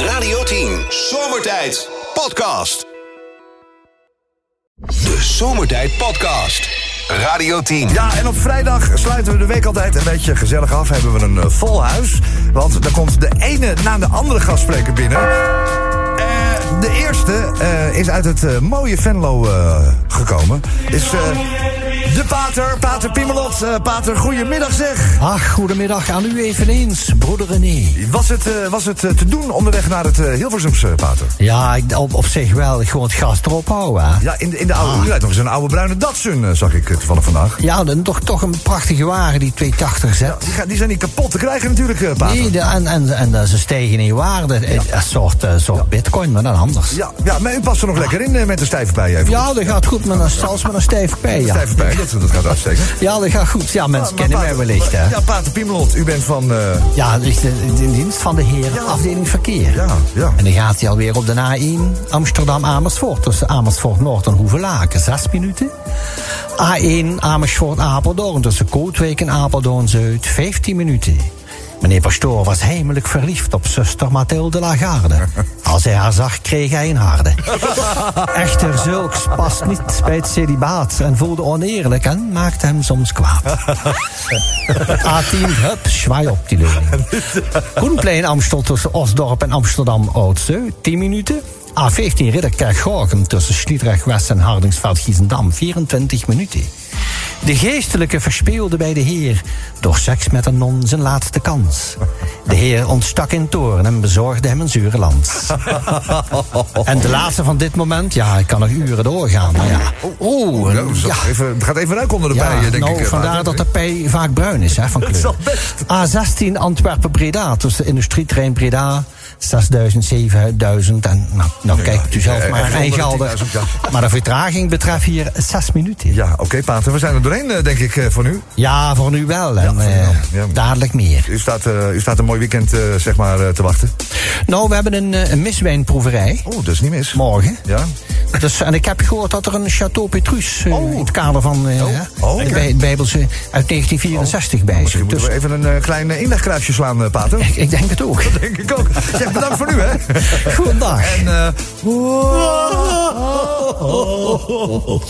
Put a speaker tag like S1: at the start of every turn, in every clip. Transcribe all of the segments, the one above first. S1: 10. Zomertijd Podcast. De Zomertijd Podcast. Radio 10.
S2: Ja, en op vrijdag sluiten we de week altijd een beetje gezellig af. Hebben we een eh, vol huis. Want dan komt de ene na de andere gastspreker binnen. Eh, de eerste eh, is uit het eh, mooie Venlo eh, gekomen. Is eh, de pater, pater Piemelot. Eh, pater, goedemiddag zeg.
S3: Ach, goedemiddag aan u eveneens, broeder René.
S2: Was het, eh, was het eh, te doen onderweg naar het eh, Hilversumse, pater?
S3: Ja, ik, op, op zich wel, gewoon het gas erop houden. Hè.
S2: Ja, in, de- in de oude, u rijdt nog eens een oude bruine Datsun, eh, zag ik eh, toevallig vandaag.
S3: Ja, dan toch, toch een prachtige wagen, die 280 zet.
S2: Die, gaan- die zijn niet kapot te krijgen natuurlijk, eh, pater.
S3: Nee, de- en, en, en eh, ze stijgen in waarde. Eh, Een soort, eh, soort bitcoin, maar dan anders. Ja,
S2: Ja, ja, maar u past er nog lekker in eh, met de stijve bij. Even.
S3: dat gaat goed met een stals met een stijf pij, ja.
S2: Stijve bij, dat, dat gaat uitstekend.
S3: Ja, dat gaat goed. Ja, mensen kennen mij wellicht, hè.
S2: Ja, Pater Piemelot, u bent van... eh,
S3: Ja, dus de- de- in dienst van de heer, afdeling verkeer.
S2: ja, ja.
S3: En dan gaat hij alweer op de A1 Amsterdam-Amersfoort. Tussen Amersfoort-Noord en Hoevelaken, zes minuten. A1 Amersfoort-Apeldoorn. Tussen Kootwijk en Apeldoorn-Zuid, 15 minuten. Meneer Pastoor was heimelijk verliefd op zuster Mathilde Lagarde. Als hij haar zag, kreeg hij een harde. Echter, zulks past niet bij het celibaat en voelde oneerlijk en maakte hem soms kwaad. A10, hup, zwaai op die leuning. Groenplein Amstel tussen Osdorp en Amsterdam-Oudste, 10 minuten. A15 Ridderkerk-Gorkum tussen Sliedrecht-West en Hardingsveld-Giezendam, 24 minuten. De geestelijke verspeelde bij de heer door seks met een non zijn laatste kans. De heer ontstak in toorn en bezorgde hem een zure lans. En de laatste van dit moment, ja, ik kan nog uren doorgaan, maar ja.
S2: Oh,
S3: Oeh,
S2: Ja, nou, zo,
S3: ja.
S2: even, het gaat even ruik onder de
S3: Ja,
S2: bijen, denk
S3: nou,
S2: ik. eh,
S3: vandaar
S2: Pater.
S3: dat de pij vaak bruin is hè, van kleur. A16 Antwerpen-Breda, tussen industrieterrein Breda, 6000, 7000 en nou, nou kijkt u zelf
S2: eh,
S3: maar.
S2: echt
S3: En
S2: onder de
S3: Gelder.
S2: 10.000, ja.
S3: Maar de vertraging betreft hier 6 minuten. Ja,
S2: Ja, oké, Pater, we zijn er doorheen, eh, denk ik, eh, voor
S3: voor
S2: nu.
S3: nu wel en
S2: voor nu
S3: eh,
S2: wel, ja.
S3: dadelijk meer.
S2: U staat, eh, u staat een mooi weekend, eh, zeg maar, eh, te wachten.
S3: Nou, we hebben een, eh, een miswijnproeverij.
S2: Oh, dat is niet mis.
S3: Morgen.
S2: Ja?
S3: Dus, en ik heb gehoord dat er een Chateau Petrus eh,
S2: Oh.
S3: in het kader van eh,
S2: Oh,
S3: hè,
S2: oh,
S3: de
S2: lekker.
S3: bij- Bijbelse uit 1964 bij
S2: Misschien
S3: zit.
S2: moeten
S3: Dus
S2: we even een eh, klein eh, inlegkruisje slaan, eh, Pater.
S3: ik denk het ook.
S2: Denk ik ook. Zeg, bedankt voor nu, hè.
S3: Goedendag.
S2: En, eh, Oh.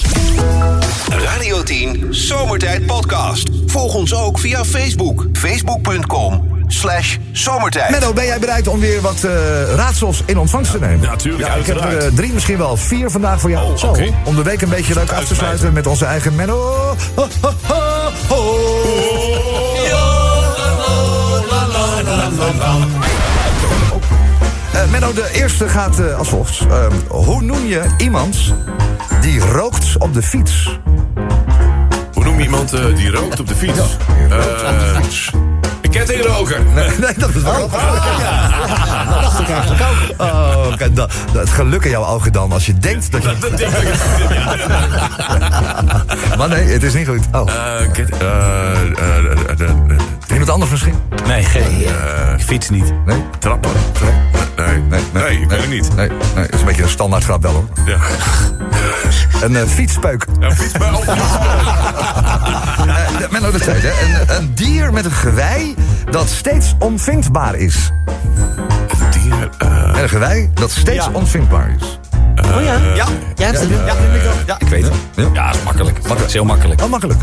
S1: Radio 10 Zomertijd Podcast. Volg ons ook via Facebook. Facebook.com slash zomertijd.
S2: Menno, ben jij bereid om weer wat eh, raadsels in ontvangst te nemen?
S4: natuurlijk,
S2: Ja, ik heb er
S4: uiteraard.
S2: eh, drie, misschien wel vier vandaag voor jou.
S4: Oh, oké.
S2: Om de week een beetje leuk af te sluiten
S4: uitsmijter.
S2: met onze eigen Menno. Ho, ho, ho, ho. Eh, Menno, de eerste gaat eh, als volgt. Eh, hoe noem je iemand die rookt op de fiets?
S4: Hoe noem je iemand eh, die rookt op de fiets? Eh, Een kettingroker.
S2: Nee, dat is wel.
S4: oh,
S2: Oh, kijk, dat- dat- Het geluk in jouw ogen dan, als je denkt dat je...
S4: Dat denk ik.
S2: Maar nee, het is niet goed. Oh,
S4: Eh, ket- eh, eh, eh, eh, eh,
S2: iemand anders misschien? eh,
S5: Nee, geen. ik fiets niet.
S2: Nee?
S4: Trappen. Nee, nee, nee, ik weet het niet.
S2: Nee, nee, het is een beetje een standaard grap wel hoor.
S4: Ja.
S2: Een eh, fietspeuk.
S4: Een fiets bij
S2: Eh, Menno de Tijd, hè? Een, een dier met een gewei dat steeds onvindbaar is.
S4: Dieren. eh,
S2: En een gewei dat steeds
S5: Ja.
S2: onvindbaar is.
S5: Ja, jij hebt het. Ja, ik weet het.
S2: Ja.
S5: Ja, is makkelijk. Dat is heel makkelijk.
S2: Oh, makkelijk.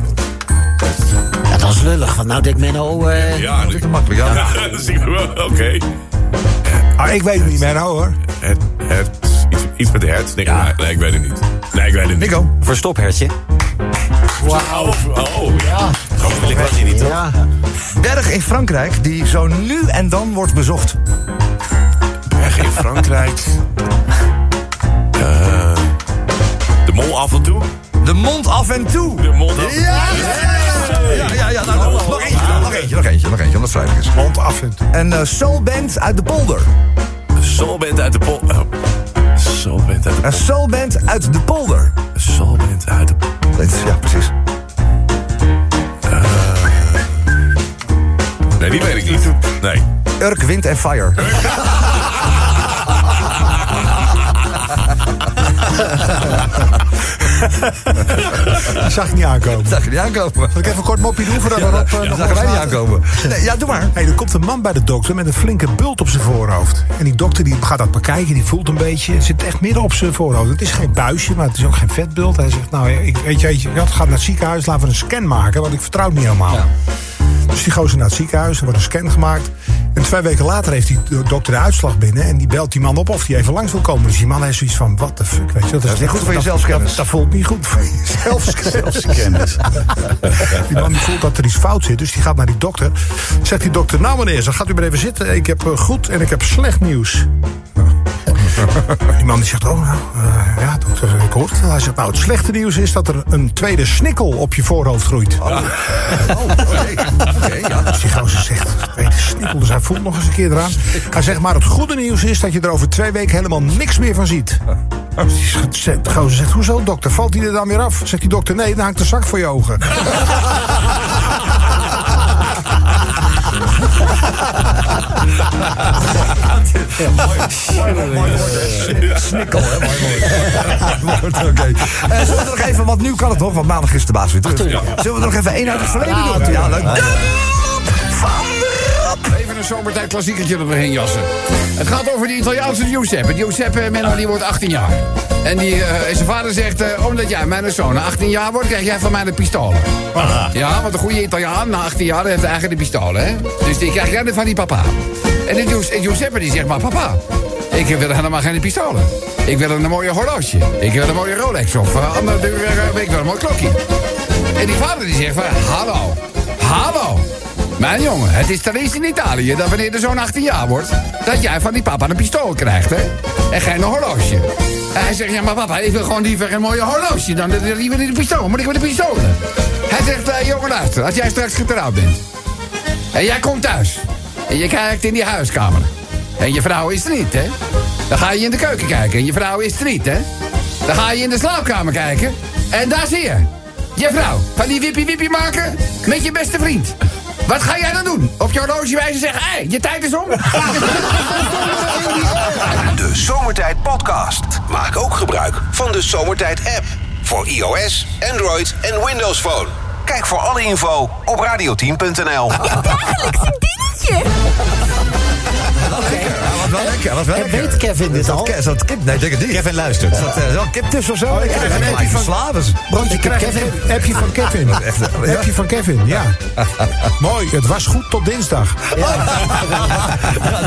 S3: Ja, dat is lullig, want nou denkt men oh... eh,
S4: Ja,
S2: Dat is te makkelijk, ja.
S4: ja, dat zie ik wel. Oké.
S6: Ah, ik weet het niet meer nou hoor.
S4: Het, het, iets, iets met de hert. Nee, nee, ik weet het niet. Nee, ik weet het niet.
S2: Nico,
S5: Verstop, hertje.
S4: Oh, oh, ja.
S5: Ik was hier niet, toch?
S3: Ja,
S2: berg in Frankrijk die zo nu en dan wordt bezocht.
S4: Berg in Frankrijk. Eh, de mol af en toe.
S2: De mond af en toe.
S4: De mol af en toe.
S2: Ja, ja, ja, ja. Nou, nog- nog eentje, nog eentje, nog eentje, nog eentje, omdat het vrijdag is.
S6: Mond af en toe.
S2: Een eh, soulband uit de polder.
S4: Soulband uit de pol... eh, Soulband uit de
S2: Een
S4: pol...
S2: soulband uit de polder.
S4: Soulband uit de pol...
S2: Dat is- Ja, precies.
S4: Nee, die weet ik niet. Nee.
S2: Urk, Wind en Fire.
S6: Die zag ik niet aankomen.
S2: Zag je niet aankomen?
S6: Zal ik even een kort mopje doen voordat we erop eh, nog
S2: Zag wij
S6: ons
S2: niet
S6: laten?
S2: aankomen? Nee, ja, doe maar.
S6: Hey, er komt een man bij de dokter met een flinke bult op zijn voorhoofd. En die dokter die gaat dat bekijken, die voelt een beetje. Het zit echt midden op zijn voorhoofd. Het is geen buisje, maar het is ook geen vetbult. Hij zegt, nou, ik, weet je, weet je, dat gaat naar het ziekenhuis, laten we een scan maken, want ik vertrouw het niet helemaal. Dus die gozer naar het ziekenhuis, er wordt een scan gemaakt. En twee weken later heeft die dokter de uitslag binnen. En die belt die man op of hij even langs wil komen. Dus die man heeft zoiets van, what the fuck, weet je. Dat is,
S2: niet goed voor je
S6: dat-
S2: zelfskennis.
S6: Dat, dat voelt niet goed voor je zelfskennis. Die man die voelt dat er iets fout zit, dus die gaat naar die dokter. Zegt die dokter, nou meneer, dan gaat u maar even zitten. Ik heb eh, goed en ik heb slecht nieuws. Die man die zegt, oh nou, eh, ja dokter, ik hoor het wel. Hij zegt, nou het slechte nieuws is dat er een tweede snikkel op je voorhoofd groeit.
S2: Oké, ja.
S6: Dus die gozer zegt, tweede snikkel, dus hij voelt nog eens een keer eraan. Hij zegt, maar het goede nieuws is dat je er over twee weken helemaal niks meer van ziet.
S2: Oh,
S6: Dus die zegt- De gozer zegt, hoezo dokter, valt die er dan weer af? Zegt die dokter, nee, dan hangt de zak voor je ogen.
S2: Snikkel, hè? Mooi woord. Mooi woord, Oké. Eh, Zullen we er nog even, want nu kan het nog, want maandag is de baas weer terug. Zullen we er nog even één uit het verleden doen? Nou, Ja, leuk.
S7: Even een zomertijd klassiekertje er doorheen jassen. Het gaat over die Italiaanse Giuseppe. Giuseppe Menno, die wordt 18 jaar. En die, eh, en zijn vader zegt, eh, omdat jij mijn zoon 18 jaar wordt... krijg jij van mij de pistolen. Ja, want een goede Italiaan na 18 jaar heeft eigen de pistolen. Hè? Dus die krijg jij van die papa. En die Gius- en Giuseppe die zegt, maar papa... Ik wil helemaal geen pistolen. Ik wil een mooie horloge. Ik wil een mooie Rolex of eh, ander duur. eh, Ik wil een mooi klokje. En die vader die zegt van, hallo, hallo. Mijn jongen, het is ten eerste in Italië dat wanneer de zoon 18 jaar wordt... dat jij van die papa een pistool krijgt, hè? En geen horloge. En hij zegt, ja, maar papa, ik wil gewoon liever een mooie horloge... dan dat- dat liever niet een pistool. Moet ik met een pistool? Hij zegt, eh, jongen, luister, als jij straks getrouwd bent... En jij komt thuis. En je kijkt in die huiskamer. En je vrouw is er niet, hè? Dan ga je in de keuken kijken. En je vrouw is er niet, hè? Dan ga je in de slaapkamer kijken. En daar zie je. Je vrouw. Van die wippie wippie maken. Met je beste vriend. Wat ga jij dan doen? Op je horloge wijzen zeggen... Hé, je tijd is om.
S1: De Zomertijd Podcast. Maak ook gebruik van de Zomertijd app. Voor iOS, Android en Windows Phone. Kijk voor alle info op radioteam.nl.
S8: Dagelijkse dingetje.
S2: Ja, wat wel lekker, wat wel
S3: En
S2: lekker.
S3: weet Kevin dit
S2: Is dat
S3: al?
S2: ke- Is dat kip? Nee, ik denk het niet.
S5: Kevin luistert.
S2: Is dat eh, wel kip tussen of zo? ik heb
S6: een
S2: gelijk
S6: appje van-
S2: verslaven.
S6: Je
S3: Brandje
S6: krijgt
S3: Kevin.
S6: een appje van Kevin.
S2: echt, ja.
S6: Appje van Kevin, ja. Mooi, het was goed tot dinsdag.
S2: Ja,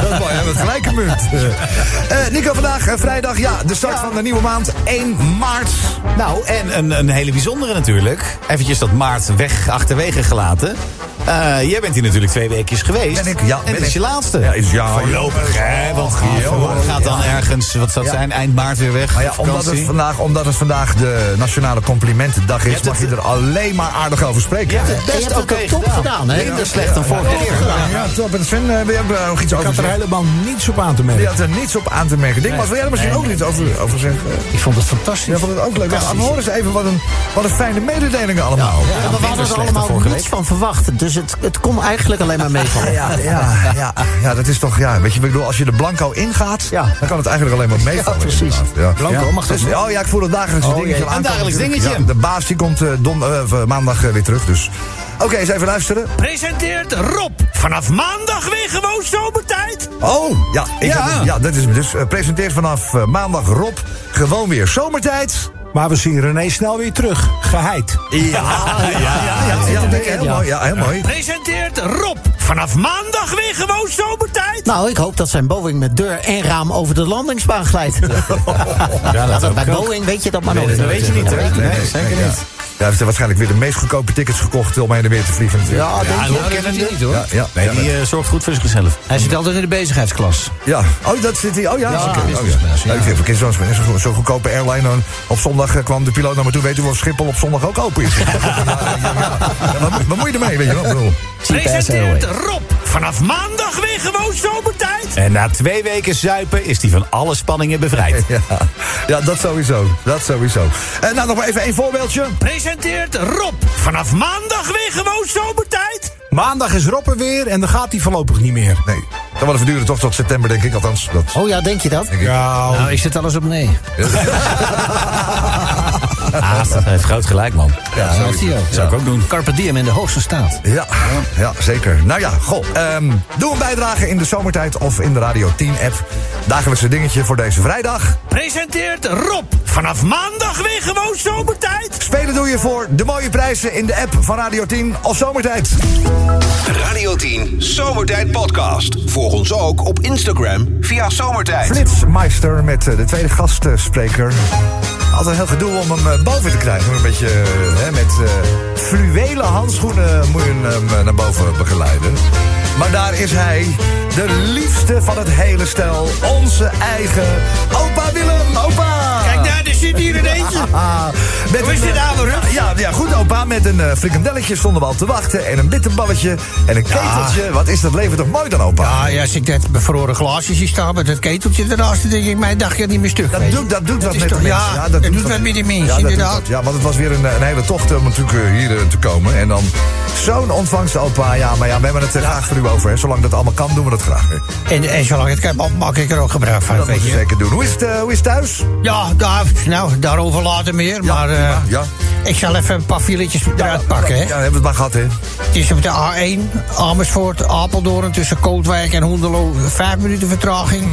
S2: dat is mooi, hè, met gelijke munt. Eh, eh, Nico, vandaag eh, vrijdag, ja, de start van de nieuwe maand, 1 maart.
S5: Nou, en een, een hele bijzondere natuurlijk. Eventjes dat maart weg achterwege gelaten. Eh, jij bent hier natuurlijk twee weekjes geweest.
S2: Ben ik? Ja,
S5: en
S2: ben
S5: dit is
S2: ik.
S5: je laatste.
S2: Ja, is- ja,
S4: Oh,
S5: Voorlopig, hè? Want voorlopig gaat dan ergens, wat zou het
S2: Ja.
S5: zijn, eind maart weer weg.
S2: Maar ja,
S5: op
S2: omdat het,
S5: vakantie.
S2: vandaag, omdat het vandaag de Nationale Complimentendag
S5: Je
S2: is,
S5: hebt
S2: mag je
S5: het-
S2: er alleen maar aardig over
S5: Je
S2: spreken.
S5: hebt het
S3: Je hebt
S5: best
S3: het
S5: oké
S3: ook top gedaan, hè?
S5: Minder slecht dan vorige keer.
S2: Ja, top. En Sven, eh, wil jij ook eh, nog iets
S6: Ik
S2: over
S6: had er
S2: zeggen?
S6: helemaal niets op aan te
S2: Die
S6: merken.
S2: had er niets op aan te merken. Ding, maar wil jij er misschien ook niet over, over zeggen?
S3: Ik vond het fantastisch.
S2: Ja, vond het ook leuk. Ja,
S3: Fantastisch.
S2: hoor eens even wat een, wat een fijne mededelingen allemaal.
S3: Ja, maar nou, we hadden er
S5: slecht dan
S3: allemaal
S5: vorige
S3: niets
S5: week.
S3: van verwacht. Dus het, het kon eigenlijk alleen maar meevallen.
S2: Ah, Ja, ja, ja, ja, dat is toch, ja, weet je, ik bedoel, als je er blanco ingaat,
S3: Ja.
S2: dan kan het eigenlijk alleen maar meevallen.
S3: Ja, precies.
S2: inderdaad. Ja.
S3: Blanco
S2: Ja.
S3: mag dat
S2: Dus-
S3: niet?
S2: Oh ja, ik voel het dagelijks
S3: Oh,
S2: dingetje
S3: jee.
S2: al
S5: Een
S2: aankomen
S5: dagelijks
S2: natuurlijk.
S5: dingetje.
S2: Ja, de baas die komt eh, don, eh, v- maandag eh, weer terug, dus... Oké, eens even luisteren.
S9: presenteert Rob. Vanaf maandag weer gewoon zomertijd.
S2: Oh, ja, ik
S5: Ja.
S2: had het- ja dat is hem dus. eh, presenteert vanaf eh, maandag Rob gewoon weer zomertijd.
S6: Maar we zien René snel weer terug. Geheid.
S2: Ja, ja, ja. ja, denk ik, heel mooi. Ja, heel mooi.
S9: Presenteert Rob. Vanaf maandag weer gewoon zomertijd.
S3: Nou, ik hoop dat zijn Boeing met deur en raam over de landingsbaan glijdt. Ja, dat bij Boeing weet je dat maar nooit.
S5: dat weet je niet, hè? Nee, zeker
S2: ja.
S5: niet.
S2: Ja, hij heeft waarschijnlijk weer de meest goedkope tickets gekocht om heen en weer te vliegen. natuurlijk.
S3: Ja, denk je.
S5: dat kent het niet, hoor.
S2: Ja, ja,
S5: Nee,
S2: ja,
S5: die eh, zorgt goed voor zichzelf.
S7: Hij zit altijd in de bezigheidsklas.
S2: Ja, oh, dat zit hij. Oh ja, oké. Oh, ja.
S7: businessman,
S2: Nou, ik vind- ik ken zo'n zo'n- zo'n goedkope airline. dan op zondag eh, kwam de piloot naar me toe. Weet u of Schiphol op zondag ook open is? ja, ja, ja. Ja, wat, wat moet je ermee, weet je wel? Ik bedoel,
S9: Presenteert Rob. Vanaf maandag weer gewoon zomertijd.
S5: En na twee weken zuipen is die van alle spanningen bevrijd.
S2: ja. ja, dat sowieso. Dat sowieso. Eh, nou, nog maar even één voorbeeldje.
S9: Presenteert Rob. Vanaf maandag weer gewoon zomertijd.
S6: Maandag is Rob er weer en dan gaat hij voorlopig niet meer.
S2: Nee, dat wel even duren toch tot september, denk ik. Althans, dat...
S9: Nou,
S3: Oh ja, denk je dat?
S6: Ja,
S7: Nou, ik zit alles op nee.
S5: Haast, Ah, hij heeft groot gelijk, man.
S3: Ja, dat zie je ook.
S5: Zou ik ook doen.
S3: Carpe diem in de hoogste staat.
S2: Ja, ja, zeker. Nou ja, goh. ehm, doe een bijdrage in de zomertijd of in de Radio 10-app. Dagelijkse dingetje voor deze vrijdag.
S9: Presenteert Rob vanaf maandag weer gewoon zomertijd.
S2: Spelen doe je voor de mooie prijzen in de app van Radio 10 of zomertijd.
S1: Radio 10 Zomertijd Podcast. Volg ons ook op Instagram via Zomertijd.
S2: Flitsmeister met eh, de tweede gastspreker. Altijd heel gedoe om hem eh, boven te krijgen. Een beetje eh, hè, met eh fluwelen handschoenen moet je hem eh, naar boven begeleiden. Maar daar is hij, de liefste van het hele stel. Onze eigen opa Willem. Opa!
S9: Kijk daar, er zit hier in eentje.
S2: Ah, met
S9: Hoe is
S2: een,
S9: dit,
S2: eh,
S9: ouwe Ruud?
S2: Ja, ja, goed opa. Met een eh, frikandelletje stonden we al te wachten. En een bitterballetje. En een keteltje. Wat is dat leven toch mooi dan opa?
S3: Ah ja, als ik dat bevroren glaasje zie staan met dat keteltje ernaast, dan denk ik, mijn dagje niet meer stuk.
S2: Dat
S3: weet je.
S2: doet, dat doet wat
S3: is
S2: met
S3: toch-
S2: de mensen.
S3: Ja, dat, doet wat met de
S2: Ja,
S3: mensen,
S2: dat doet
S3: inderdaad.
S2: wat. ja, want het was weer een, een hele tocht om natuurlijk eh, hier eh, te komen. En dan zo'n ontvangst, opa. Ja, maar ja, we hebben het er graag voor u over. Hè. Zolang dat allemaal kan, doen we dat graag. Hè.
S3: En, en zolang ik het kan, mag- maak ik er ook gebruik van,
S2: Dat
S3: weet
S2: moet je
S3: je.
S2: zeker doen. Hoe is het, eh, hoe is het thuis?
S3: Ja, daar, nou, daarover later meer, maar... eh,
S2: prima, ja.
S3: Ik zal even een paar filetjes eruit pakken, hè.
S2: Ja, hebben we het maar gehad, hè?
S3: Het is op de A1, Amersfoort, Apeldoorn tussen Kootwijk en Hoendelo. Vijf minuten vertraging.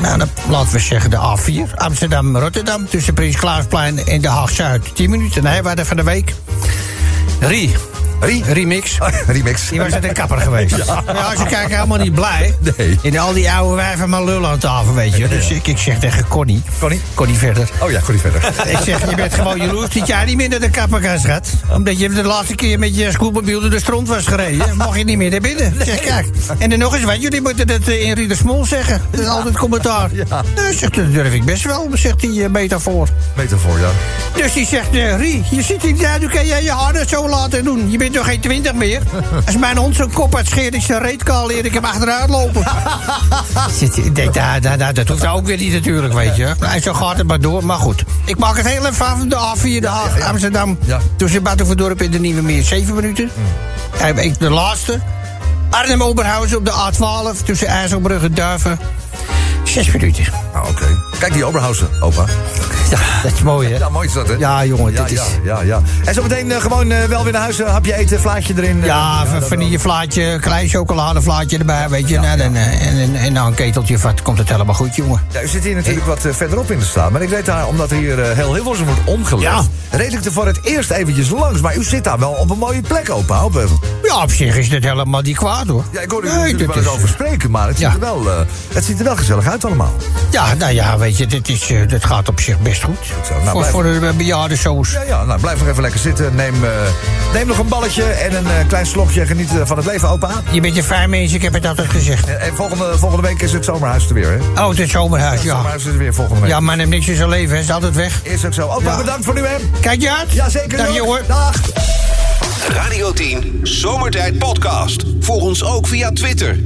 S3: Nou, dan laten we zeggen de A4. Amsterdam-Rotterdam tussen Prins Klausplein en De Haag-Zuid. Tien minuten. Nee, we hadden van de week. Rie.
S2: Rie?
S3: Remix.
S2: Remix.
S3: Die was uit een kapper geweest. Ja. als je kijkt, helemaal niet blij.
S2: Nee.
S3: In al die oude wijven maar lullen aan tafel, weet je. Dus ik, ik zeg tegen Connie.
S2: Connie?
S3: Connie verder.
S2: Oh ja, goed, niet verder.
S3: Ik zeg, je bent gewoon jaloers dat jij niet meer naar de kapper kan, schat. Omdat je de laatste keer met je scootmobiel door de stront was gereden. Mocht je niet meer naar binnen. Ik Zeg, kijk. En dan nog eens wat, jullie moeten dat eh, in Riedersmol zeggen. Dat is altijd commentaar. Nou, zegt, dat durf ik best wel, zegt die eh, metafoor.
S2: Metafoor, ja.
S3: Dus die zegt, eh, Rie, je zit hier, ja, nu kan jij je harder zo laten doen. Je bent toch geen twintig meer? Als mijn hond zo'n kop uitscheert, ik zijn reet kan leer ik hem achteruit lopen. Zit hij- Ik denk, nou, nou, nou, dat hoeft ook weer niet natuurlijk, weet je. En zo gaat het maar door, maar goed. Ik maak het heel even van de A4, de Haag, Amsterdam.
S2: Ja.
S3: Tussen Battenverdorp en de Nieuwe Meer, zeven minuten. En ik de laatste. Arnhem-Oberhausen op de A12, tussen IJsselbrug en Duiven. Zes minuten.
S2: Ah, oké. Kijk die Oberhausen, opa.
S3: Ja, dat is mooi, hè?
S2: Ja, mooi is dat, hè?
S3: Ja, jongen,
S2: ja,
S3: dit
S2: ja,
S3: is-
S2: ja, ja. En zo meteen eh, gewoon eh, wel weer naar huis. eh, hapje eten, vlaatje erin. eh,
S3: Ja,
S2: dat
S3: van
S2: wel.
S3: vanillevlaatje, klein chocoladevlaatje erbij, weet je. nou, dan, eh, en, en, en dan een keteltje of wat, komt het helemaal goed, jongen.
S2: Ja, u zit hier natuurlijk wat eh, verderop in de straat. Maar ik weet daar, omdat hier eh, heel Hilversum wordt omgelegd... reed ik er voor het eerst eventjes langs. Maar u zit daar wel op een mooie plek, opa. Op, eh,
S3: Ja, op zich is dit helemaal niet kwaad, hoor.
S2: ja, ik hoorde u
S3: Nee,
S2: natuurlijk
S3: dit
S2: wel eens
S3: is-
S2: over spreken, maar het,
S3: Ja.
S2: ziet er wel, eh, het ziet er wel gezellig uit allemaal.
S3: Ja, nou ja, weet je, dit, is, eh, dit gaat op zich best goed.
S2: zo, nou,
S3: voor,
S2: blijf-
S3: voor de bejaardensoos.
S2: Ja, ja, nou, blijf nog even lekker zitten. Neem, eh, neem nog een balletje en een eh, klein slokje. Geniet eh, van het leven, opa.
S3: Je bent een fijn mens, ik heb het altijd gezegd.
S2: En, en volgende, volgende week is het zomerhuis er weer, hè?
S3: Oh, het is zomerhuis,
S2: Het
S3: ja.
S2: Zomerhuis is er weer volgende week.
S3: Ja, maar neem niks in zijn leven, hè, is altijd weg.
S2: Is ook zo. Opa,
S3: Ja.
S2: bedankt voor nu, hè?
S3: Kijk je uit?
S2: Jazeker.
S3: Dag,
S2: Joop.
S3: jongen.
S2: Dag.
S1: Radio 10 Zomertijd Podcast. Volg ons ook via Twitter.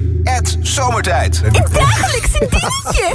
S1: Zomertijd.
S8: Een dagelijks dingetje.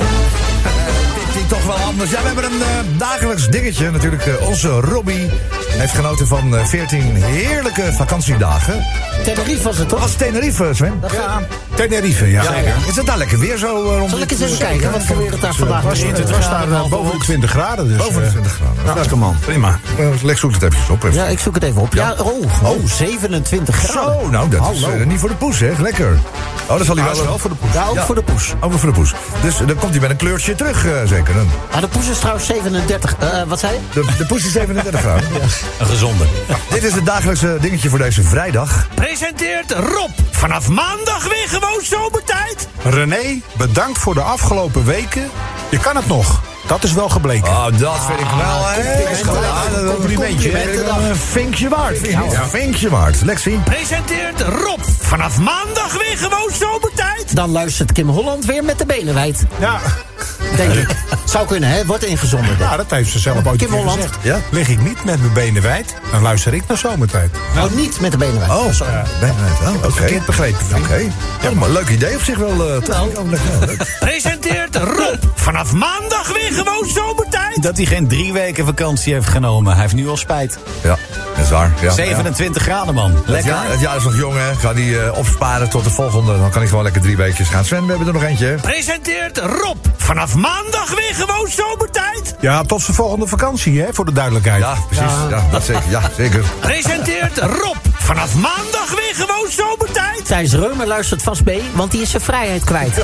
S2: Dit klinkt toch wel anders. Ja, we hebben een eh, dagelijks dingetje. Natuurlijk, eh, onze Robbie heeft genoten van eh, 14 heerlijke vakantiedagen.
S3: Tenerife was het,
S2: Dat was Tenerife, Sven.
S3: Ja,
S6: Tenerife, ja.
S2: Is het daar lekker weer zo eh, rond?
S3: zal ik eens
S2: dit,
S3: even
S2: eh,
S3: kijken wat voor weer het daar vandaag
S6: Was, het was daar eh, boven de 20 graden. Dus,
S2: Boven de
S6: eh,
S2: 20 graden. Nou,
S6: lekker man. Prima.
S2: eh, Lex zoekt het eventjes op. even.
S5: Ja, ik zoek het even op. Ja, oh, oh, 27 graden.
S2: Zo, nou, dat is eh, niet voor de poes, hè? Lekker. Oh, dat zal hij
S6: Ah, is
S2: wel...
S6: wel voor de poes.
S5: Ja, ook
S2: Ja.
S5: voor de poes.
S2: Ook wel voor de poes. Dus eh, dan komt hij met een kleurtje terug, eh, zeker. Dan.
S5: Ah, de poes is trouwens 37. eh, wat zei je?
S2: De, de poes is 37 graden.
S5: Een gezonde.
S2: Dit is het dagelijkse dingetje voor deze vrijdag.
S9: Presenteert Rob vanaf maandag weer gewoon zomertijd.
S6: René, bedankt voor de afgelopen weken. Je kan het nog. Dat is wel gebleken.
S2: Oh, dat vind ik wel heel
S6: Een
S2: een
S6: complimentje. eh,
S2: Een vinkje waard. vind je niet? Een vinkje waard. Lexie.
S9: Presenteert Rob vanaf maandag weer gewoon zomertijd.
S10: Dan luistert Kim Holland weer met de benen wijd.
S6: Ja.
S10: Denk ik. Zou kunnen, hè? Wordt ingezonden.
S6: ja, dat heeft ze zelf ooit een
S10: Kim
S6: keer
S10: Holland.
S6: gezegd.
S2: Ja?
S6: Lig ik niet met mijn benen wijd, dan luister ik naar zomertijd.
S10: Nou, niet met de benen wijd.
S2: Oh, sorry. Ben, ben, oh, oké.
S6: Verkeerd begrepen. Nou.
S2: Oké. Ja, maar leuk idee op zich wel. eh, toch? Ja, leuk, ja, leuk.
S9: Presenteert Rob vanaf maandag weer gewoon zomertijd.
S5: Dat hij geen drie weken vakantie heeft genomen. Hij heeft nu al spijt.
S2: Ja, dat is waar. Ja, ja.
S5: 27 graden, man.
S2: Het
S5: Lekker.
S2: jaar, het jaar is nog jong, hè? Ga die, eh, opsparen tot de volgende. Dan kan ik gewoon lekker drie weekjes gaan. Sven, we hebben er nog eentje.
S9: Presenteert Rob vanaf maandag weer gewoon zomertijd.
S6: Ja, tot zijn volgende vakantie, hè, voor de duidelijkheid.
S2: Ja, precies. Ja, dat zeker. Ja, zeker.
S9: Presenteert Rob vanaf maandag weer gewoon zomertijd.
S10: Thijs Reumer luistert vast mee, want die is zijn vrijheid kwijt.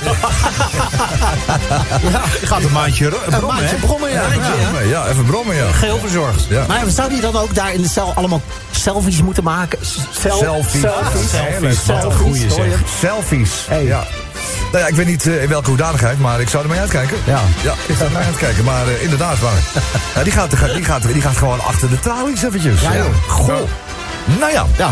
S6: Je gaat een maandje ro- brommen,
S10: Een maandje
S6: hè?
S10: brommen, ja.
S2: Ja, brommen, ja, even brommen, ja.
S10: Geheel verzorgd.
S2: Ja.
S10: Maar zou die dan ook daar in de cel allemaal selfies moeten maken? S- Self,
S2: Selfies.
S10: Selfies.
S6: Heerlijk, wat een goeie,
S10: hoor je?
S6: zeg.
S2: Selfies. Ja. Nou ja, ik weet niet eh, in welke hoedanigheid, maar ik zou ermee uitkijken.
S10: Ja.
S2: ja ik zou ermee uitkijken, maar eh, inderdaad waar. Ja, die, gaat, die, gaat, die, gaat, die gaat gewoon achter de tralies eventjes.
S10: Ja, joh.
S2: Goh. Nou ja.
S10: Ja,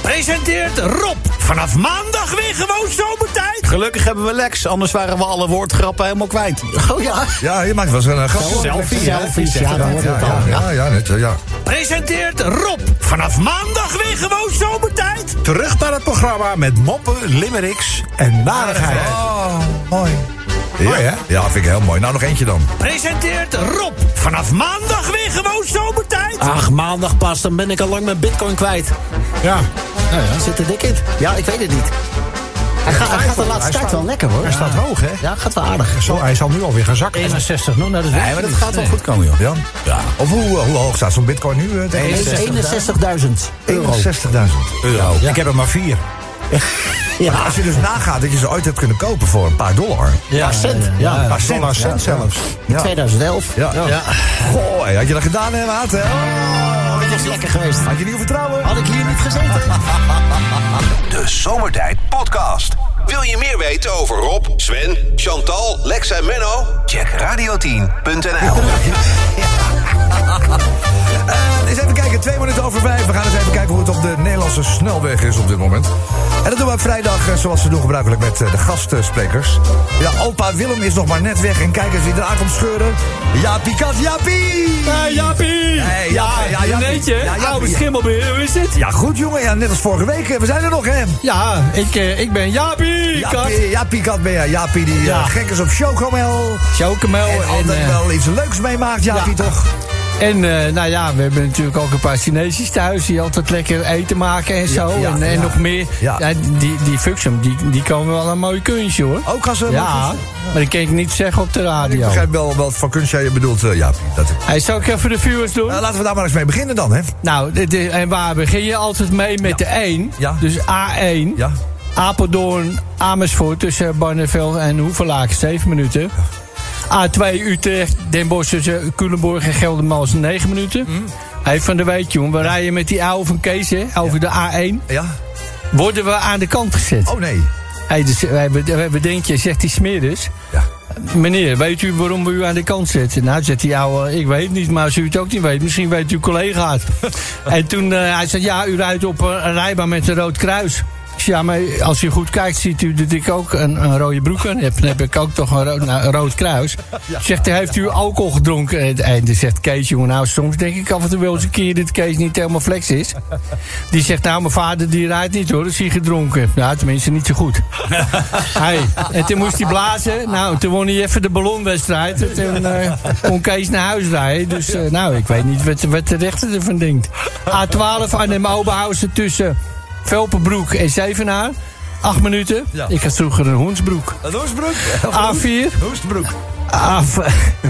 S9: Presenteert Rob vanaf maandag weer gewoon zomertijd.
S5: Gelukkig hebben we Lex, anders waren we alle woordgrappen helemaal kwijt.
S10: oh ja.
S2: Ja, je maakt wel eens een eh, grapje.
S5: Selfie, hè?
S10: Selfies, ja, dat wordt
S2: Ja,
S10: het
S2: ja,
S10: al.
S2: ja, ja, net, eh, ja.
S9: Presenteert Rob vanaf maandag weer gewoon zomertijd.
S6: Terug naar het programma met moppen, limericks en narigheid.
S2: Oh, mooi.
S6: Mooi, hè?
S2: Ja, vind ik heel mooi. Nou, nog eentje dan.
S9: Presenteert Rob vanaf maandag weer gewoon zomertijd.
S10: Ach, maandag pas, dan ben ik al lang mijn bitcoin kwijt.
S6: Ja.
S10: Zit er dik in? Ja, ik weet het niet. Hij, gaat, hij gaat de laatste
S6: Hij
S10: tijd
S6: staat-
S10: wel lekker hoor.
S6: Hij staat hoog, hè?
S10: Ja, gaat wel aardig.
S6: Zo, hij zal nu alweer gaan zakken.
S3: 61 nog, nou, dat weet
S5: Nee,
S3: ik
S5: maar dat
S3: niet.
S5: gaat wel goed komen, joh.
S2: Jan? Ja. Of hoe, eh, hoe hoog staat zo'n bitcoin nu? eh, tegen?
S10: 61.000 euro.
S2: 61.000.
S5: Euro.
S6: Ik heb er maar vier.
S10: Ja,
S2: Als je dus nagaat dat je ze ooit hebt kunnen kopen voor een paar dollar.
S10: ja, cent. Ja,
S2: Paar cent.
S6: Dollar cent zelfs.
S2: Ja.
S10: 2011.
S2: Ja. Goh, hey, had je dat gedaan, hè, Maat? Hè?
S3: Oh.
S10: Dat was lekker geweest.
S2: Had je niet vertrouwen?
S10: Had ik hier niet gezeten.
S1: De Zomertijd Podcast. Wil je meer weten over Rob, Sven, Chantal, Lex en Menno? Check radio10.nl.
S2: Eh, Eens even kijken, twee minuten over vijf. We gaan eens even kijken hoe het op de Nederlandse snelweg is op dit moment. En dat doen we op vrijdag, eh, zoals we doen gebruikelijk met eh, de gastsprekers. Ja, opa Willem is nog maar net weg. En kijk eens wie er aankomt scheuren. Jaapie kat, Jaapie!
S9: Hey, Jaapie!
S2: Hey, Jaapie, ja,
S9: ja,
S2: Jaapie.
S9: weet je,
S2: Ja, Jaapie.
S9: oude schimmelbeer, hoe is het?
S2: Ja, goed jongen. Ja, net als vorige week. eh, We zijn er nog, hè?
S9: Ja, ik, eh, ik ben Jaapie, kat.
S2: Jaapie, Jaapie kat ben je. Jaapie die eh,
S9: Ja.
S2: gek is op Chocomel.
S9: Chocomel
S2: En
S9: en,
S2: altijd
S9: eh,
S2: wel iets leuks meemaakt, Jaapie,
S9: ja.
S2: toch?
S9: En eh, nou ja, we hebben natuurlijk ook een paar Chinezisch thuis die altijd lekker eten maken en zo.
S2: ja,
S9: en en
S2: ja.
S9: nog meer.
S2: Ja.
S9: Ja. die, die Fuxum, die, die komen wel een mooi kunstje hoor.
S2: Ook als ze...
S9: ja, maar dat kan ik niet zeggen op de
S2: Ik
S9: radio.
S2: begrijp wel wat voor kunst jij bedoelt, eh, Jaapie. Dat...
S9: Hij zou ik even de viewers doen?
S2: Nou, laten we daar maar eens mee beginnen dan, hè?
S9: Nou, dit is- en waar begin je altijd mee met de 1?
S2: Ja.
S9: Dus A1.
S2: Ja.
S9: Apeldoorn, Amersfoort tussen Barneveld en Hoevelaken, 7 minuten. A2 Utrecht, Den Bosch tussen Culemborg en Geldermalsen, 9 minuten. Hey, van de week, jongen, we rijden met die oude van Kees, hè, over de A1.
S2: Ja?
S9: Worden we aan de kant gezet.
S2: Oh, nee.
S9: Hey, dus, wij, bed- wij bedenken, zegt die smeerders.
S2: Ja.
S9: Meneer, weet u waarom we u aan de kant zetten? Nou, zegt die ouwe, ik weet niet, maar als u het ook niet weet, misschien weet uw collega het. en toen, eh, hij zei, ja, u rijdt op een een rijbaan met een rood kruis. Ik zei, Ja, maar als u goed kijkt, ziet u dat ik ook een, een rode broek aan heb. Dan heb ik ook toch een, rood- nou, een rood kruis. Zegt hij, heeft u alcohol gedronken? En, en dan zegt Kees, jongen, nou, soms denk ik af en toe wel eens een keer dat Kees niet helemaal flex is. Die zegt, nou, mijn vader die rijdt niet hoor, dus hij gedronken. heeft. Nou, tenminste niet zo goed. Hey, en toen moest hij blazen. Nou, toen won hij even de ballonwedstrijd. En toen eh, kon Kees naar huis rijden. Dus eh, nou, ik weet niet wat, wat de rechter ervan denkt. A12 Arnhem-Oberhausen tussen Velpenbroek en Zevenaar. Acht minuten.
S2: Ja.
S9: Ik had vroeger een hondsbroek.
S2: Een hoestbroek?
S9: A4.
S2: Hoestbroek.
S9: Af,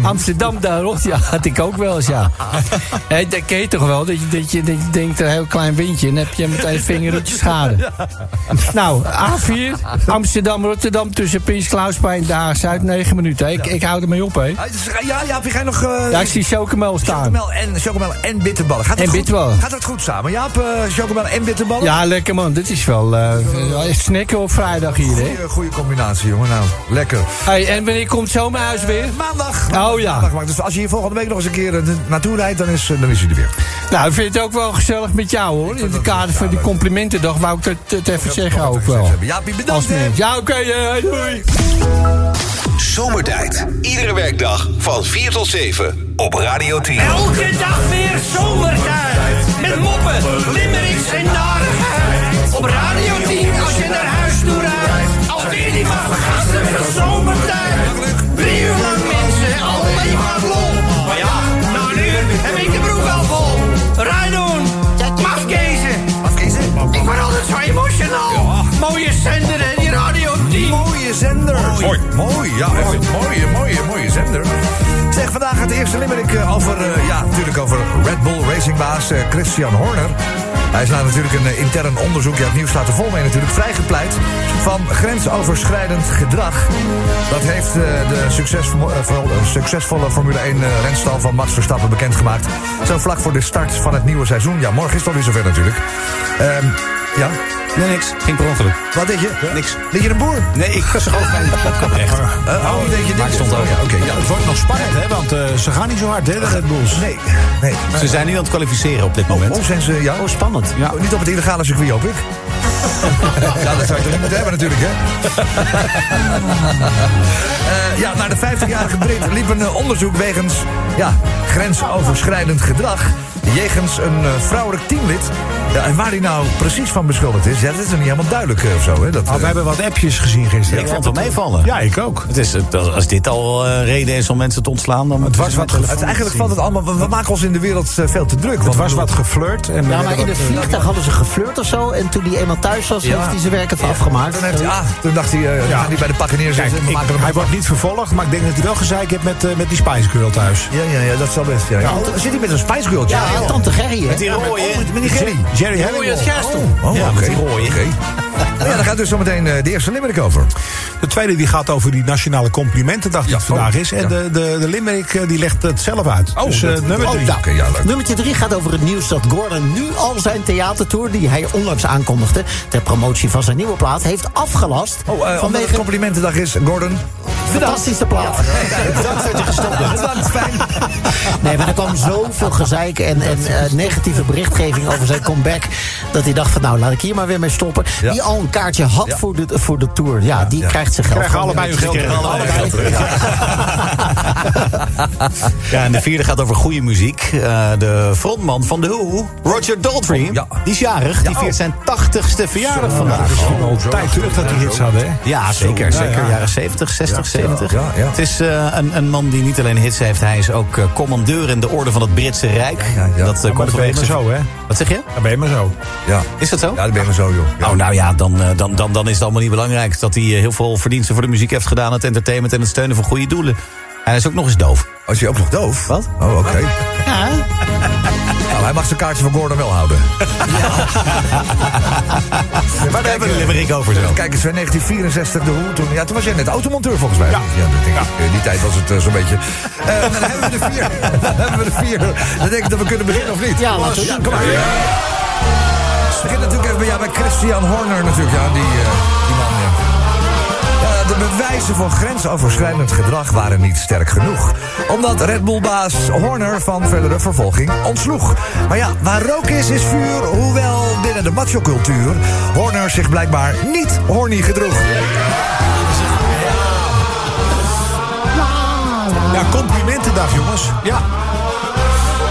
S9: Amsterdam daar rond, ja, had ik ook wel eens, ja. Hé, dat ken je toch wel, dat je, dat je, dat je denkt een heel klein windje... en dan heb je meteen vingertje schade. Nou, A4, Amsterdam-Rotterdam tussen Prins Klausplein en Daar Zuid, 9 minuten. Ik, ik hou ermee op, hè.
S2: Ah, het is- Ja, Jaapie, ga je nog... eh,
S9: Daar zie Chocomel staan.
S2: Chocomel en, chocomel en bitterballen. Gaat dat
S9: En
S2: goed?
S9: bitterballen.
S2: Gaat dat goed samen, Jaap? eh, chocomel en bitterballen?
S9: Ja, lekker man, dit is wel eh snacken op vrijdag hier, hè.
S2: Goeie, goeie combinatie, jongen. Nou, lekker.
S9: Hey, en wanneer komt zomerhuis weer?
S2: Maandag.
S9: Oh ja.
S2: Maandag, maar dus als je hier volgende week nog eens een keer eh, naartoe rijdt, dan is, eh, dan is hij er weer.
S9: Nou, ik vind het ook wel gezellig met jou, hoor. In het kader van die complimentendag wou ik het, het even zeggen ook wel.
S2: Jaapie, bedankt.
S9: Als
S2: hè.
S9: mens. Ja, oké, eh, doei.
S1: Zomertijd. Iedere werkdag van 4 tot 7 op Radio 10.
S9: Elke dag weer zomertijd. Met moppen, limericks en narigheid. Op Radio 10 als je naar huis toe rijdt. Alweer die maar vergasten van zomertijd. Drie uur lang mensen, alleen maar lol. Maar ja, na een uur heb ik de broek al vol. Rijdon, mafkezen. Ik word altijd zo emotional.
S2: Mooi, ja, echt een mooie, mooie, mooie zender. Zeg, vandaag het eerste limerick eh, over, eh, ja, natuurlijk over Red Bull racingbaas eh, Christian Horner. Hij is na natuurlijk een eh, intern onderzoek, ja, het nieuws staat er vol mee natuurlijk, vrijgepleit van grensoverschrijdend gedrag. Dat heeft eh, de succesvo- eh, voor- eh, succesvolle Formule 1 eh, renstal van Max Verstappen bekendgemaakt. Zo vlak voor de start van het nieuwe seizoen. Ja, morgen is het alweer zover natuurlijk. Ehm, ja?
S5: Nee, niks. Ging per ongeluk.
S2: Wat deed je?
S5: Niks.
S2: Deed je een boer?
S5: Nee, ik was gewoon Eh, bij de podcast. Echt.
S2: oh, oh, denk je
S5: Maar
S2: dit?
S5: ik stond ook.
S2: Ja, Oké, ja.
S6: Het wordt nog spannend, hè? Want eh, ze gaan niet zo hard, hè, de Red Bulls.
S2: Nee, nee.
S5: Ze zijn nu aan het kwalificeren op dit moment.
S2: Oh, zijn ze, ja?
S10: Oh, spannend.
S2: Ja, niet op het illegale circuit, hoop ik. ja, dat zou je toch niet moeten hebben natuurlijk, hè? Eh, ja, naar de 50-jarige Brit liep een eh, onderzoek wegens ja, grensoverschrijdend gedrag... jegens een eh, vrouwelijk teamlid. Ja, en waar die nou precies van beschuldigd is, ja, dat is nog niet helemaal duidelijk eh, of zo, hè? Dat,
S6: Oh, we
S2: eh,
S6: hebben wat appjes gezien gisteren.
S5: Ik vond het wel meevallen.
S6: Ja, ik ook.
S5: Het is, het- als dit al eh, reden is om mensen te ontslaan, dan moeten
S6: was
S5: ze
S6: wat
S5: met
S6: ge-
S2: het,
S5: telefoon
S2: eigenlijk
S5: zien.
S2: valt het allemaal... We, we maken ons in de wereld eh, veel te druk.
S6: Het
S2: want-
S6: was wat geflirt. En we
S10: Ja, maar
S6: werden
S10: in het
S6: wat,
S10: vliegtuig hadden ze geflirt of zo. En toen die eenmaal thuis was, heeft hij zijn werk even afgemaakt.
S2: Toen, heeft hij, ah, toen dacht hij, eh, we gaan niet bij de pakken
S6: eh,
S2: neerzitten.
S6: kijk,
S2: we
S6: ik-
S2: maken hem
S6: hij wordt niet vervolgd, maar ik denk dat hij wel gezeik heeft met, eh, met die Spice Girl thuis.
S2: Ja, ja, ja, dat zal best. Ja. Ja. Zit hij met een Oh, spijsgultje?
S10: Ja,
S2: joh.
S10: tante Gerrie, hè?
S5: Die rooie,
S2: Oh, met, met die Gerry.
S6: Jerry Halliwell.
S2: Oh, oh,
S5: Ja,
S2: oké.
S5: met die rooie.
S2: Oké. Nou ja, daar gaat dus zometeen eh, de eerste limerick over.
S6: De tweede die gaat over die nationale complimentendag die
S2: Ja,
S6: het vandaag
S2: oh,
S6: is. En
S2: ja.
S6: de, de, de Limerick eh, die legt het zelf uit.
S2: Oh,
S6: dus eh,
S2: dat-
S6: nummer
S2: oh,
S6: drie.
S2: nou, Oké, ja, leuk.
S10: Nummertje 3 gaat over het nieuws dat Gordon nu al zijn theatertour... die hij onlangs aankondigde ter promotie van zijn nieuwe plaat... heeft afgelast
S2: Oh, eh omdat het
S10: vanwege
S2: complimentendag is, Gordon.
S10: fantastische plaat. Bedankt dat je gestopt bent.
S2: Bedankt, fijn.
S10: Nee, maar er kwam zoveel gezeik en, en eh, negatieve berichtgeving over zijn comeback... dat hij dacht van nou, laat ik hier maar weer mee stoppen.
S2: Ja.
S10: Die al een kaartje had
S2: Ja.
S10: voor, de, voor de tour. Ja, die
S2: ja.
S10: krijgt zijn geld.
S6: Krijgen
S10: gewoon
S6: allebei hun
S10: weer terug.
S6: geld terug.
S10: Allebei.
S5: Allebei hun Ja, en de vierde gaat over goede muziek. Eh, de frontman van de Who, Roger Daltrey,
S2: ja.
S5: die is jarig. Die viert zijn tachtigste verjaardag
S6: Nou,
S5: vandaag.
S2: Oh,
S6: Al tijd terug dat hij hits had, hè?
S5: Ja, zeker. Zeker. Jaren 70, 60, 70.
S2: ja, ja.
S5: Het is eh, een, een man die niet alleen hits heeft. Hij is ook eh, commandeur in de orde van het Britse Rijk.
S2: ja, ja.
S5: Dat eh,
S6: Maar
S5: komt
S6: dat ben je
S5: vanwege
S6: maar
S5: zijn-
S6: zo, hè?
S5: Wat zeg je?
S6: Dat ben je maar zo.
S2: Ja.
S5: Is dat zo?
S2: ja, dat ben je zo, joh. Ja.
S5: Oh, nou ja, dan, eh, dan, dan, dan is het allemaal niet belangrijk... dat hij eh, heel veel verdiensten voor de muziek heeft gedaan... het entertainment en het steunen van goede doelen. En hij is ook nog eens doof.
S2: Als je ook nog doof.
S5: Wat?
S2: Oh, oké. Nou, hij mag zijn kaartje van Gordon wel houden.
S5: Maar daar hebben we een limerick over zo.
S2: Kijk eens, in 1964, de hoe toen, ja, toen was jij net automonteur volgens mij. Ja, dat denk ik. Eh, Die tijd was het eh, zo'n beetje. Eh, dan hebben we de vier. dan hebben we de vier. Dan denk ik dat we kunnen beginnen of niet.
S10: Ja, laten we
S2: Ja, kom maar. Ik begin natuurlijk even bij, ja, bij Christian Horner natuurlijk. Ja, die, eh, die man, ja. Ja, Eh, de bewijzen van grensoverschrijdend gedrag waren niet sterk genoeg. Omdat Red Bull-baas Horner van verdere vervolging ontsloeg. Maar ja, waar rook is, is vuur. Hoewel binnen de macho-cultuur Horner zich blijkbaar niet horny gedroeg.
S6: Ja, complimentendag, jongens. Ja.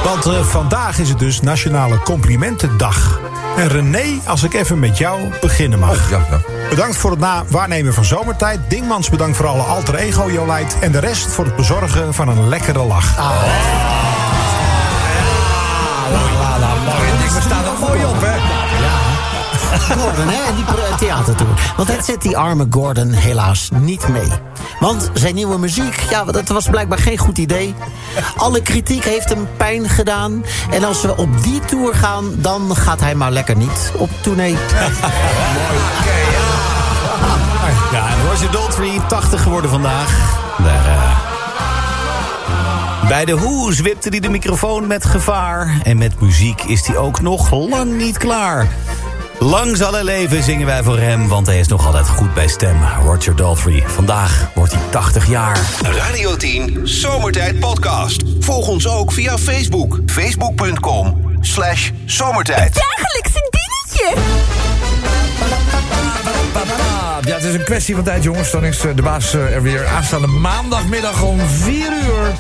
S6: Want eh, vandaag is het dus Nationale Complimentendag. En René, als ik even met jou beginnen mag.
S2: Oh, Ja, ja.
S6: Bedankt voor het na- waarnemen van zomertijd. Dingmans bedankt voor alle alter ego Jolijt. En de rest voor het bezorgen van een lekkere lach.
S2: We staan er mooi op, hè?
S10: Gordon, hè, en die pr- theatertour. Want het zit die arme Gordon helaas niet mee. Want zijn nieuwe muziek, ja, dat was blijkbaar geen goed idee. Alle kritiek heeft hem pijn gedaan. En als we op die tour gaan, dan gaat hij maar lekker niet op tournee.
S5: Ja, en Roger Daltrey, 80 geworden vandaag. Daar, eh. Bij de Who zwipte hij de microfoon met gevaar. En met muziek is hij ook nog lang niet klaar. Lang zal hij leven zingen wij voor hem, want hij is nog altijd goed bij stem. Roger Daltrey, vandaag wordt hij 80 jaar.
S1: Radio 10 Zomertijd Podcast. Volg ons ook via Facebook. Facebook.com slash zomertijd.
S8: Dagelijkse dingetje.
S2: Ja, het is een kwestie van tijd, jongens. Dan is eh, de baas eh, er weer aanstaande maandagmiddag om 4 uur.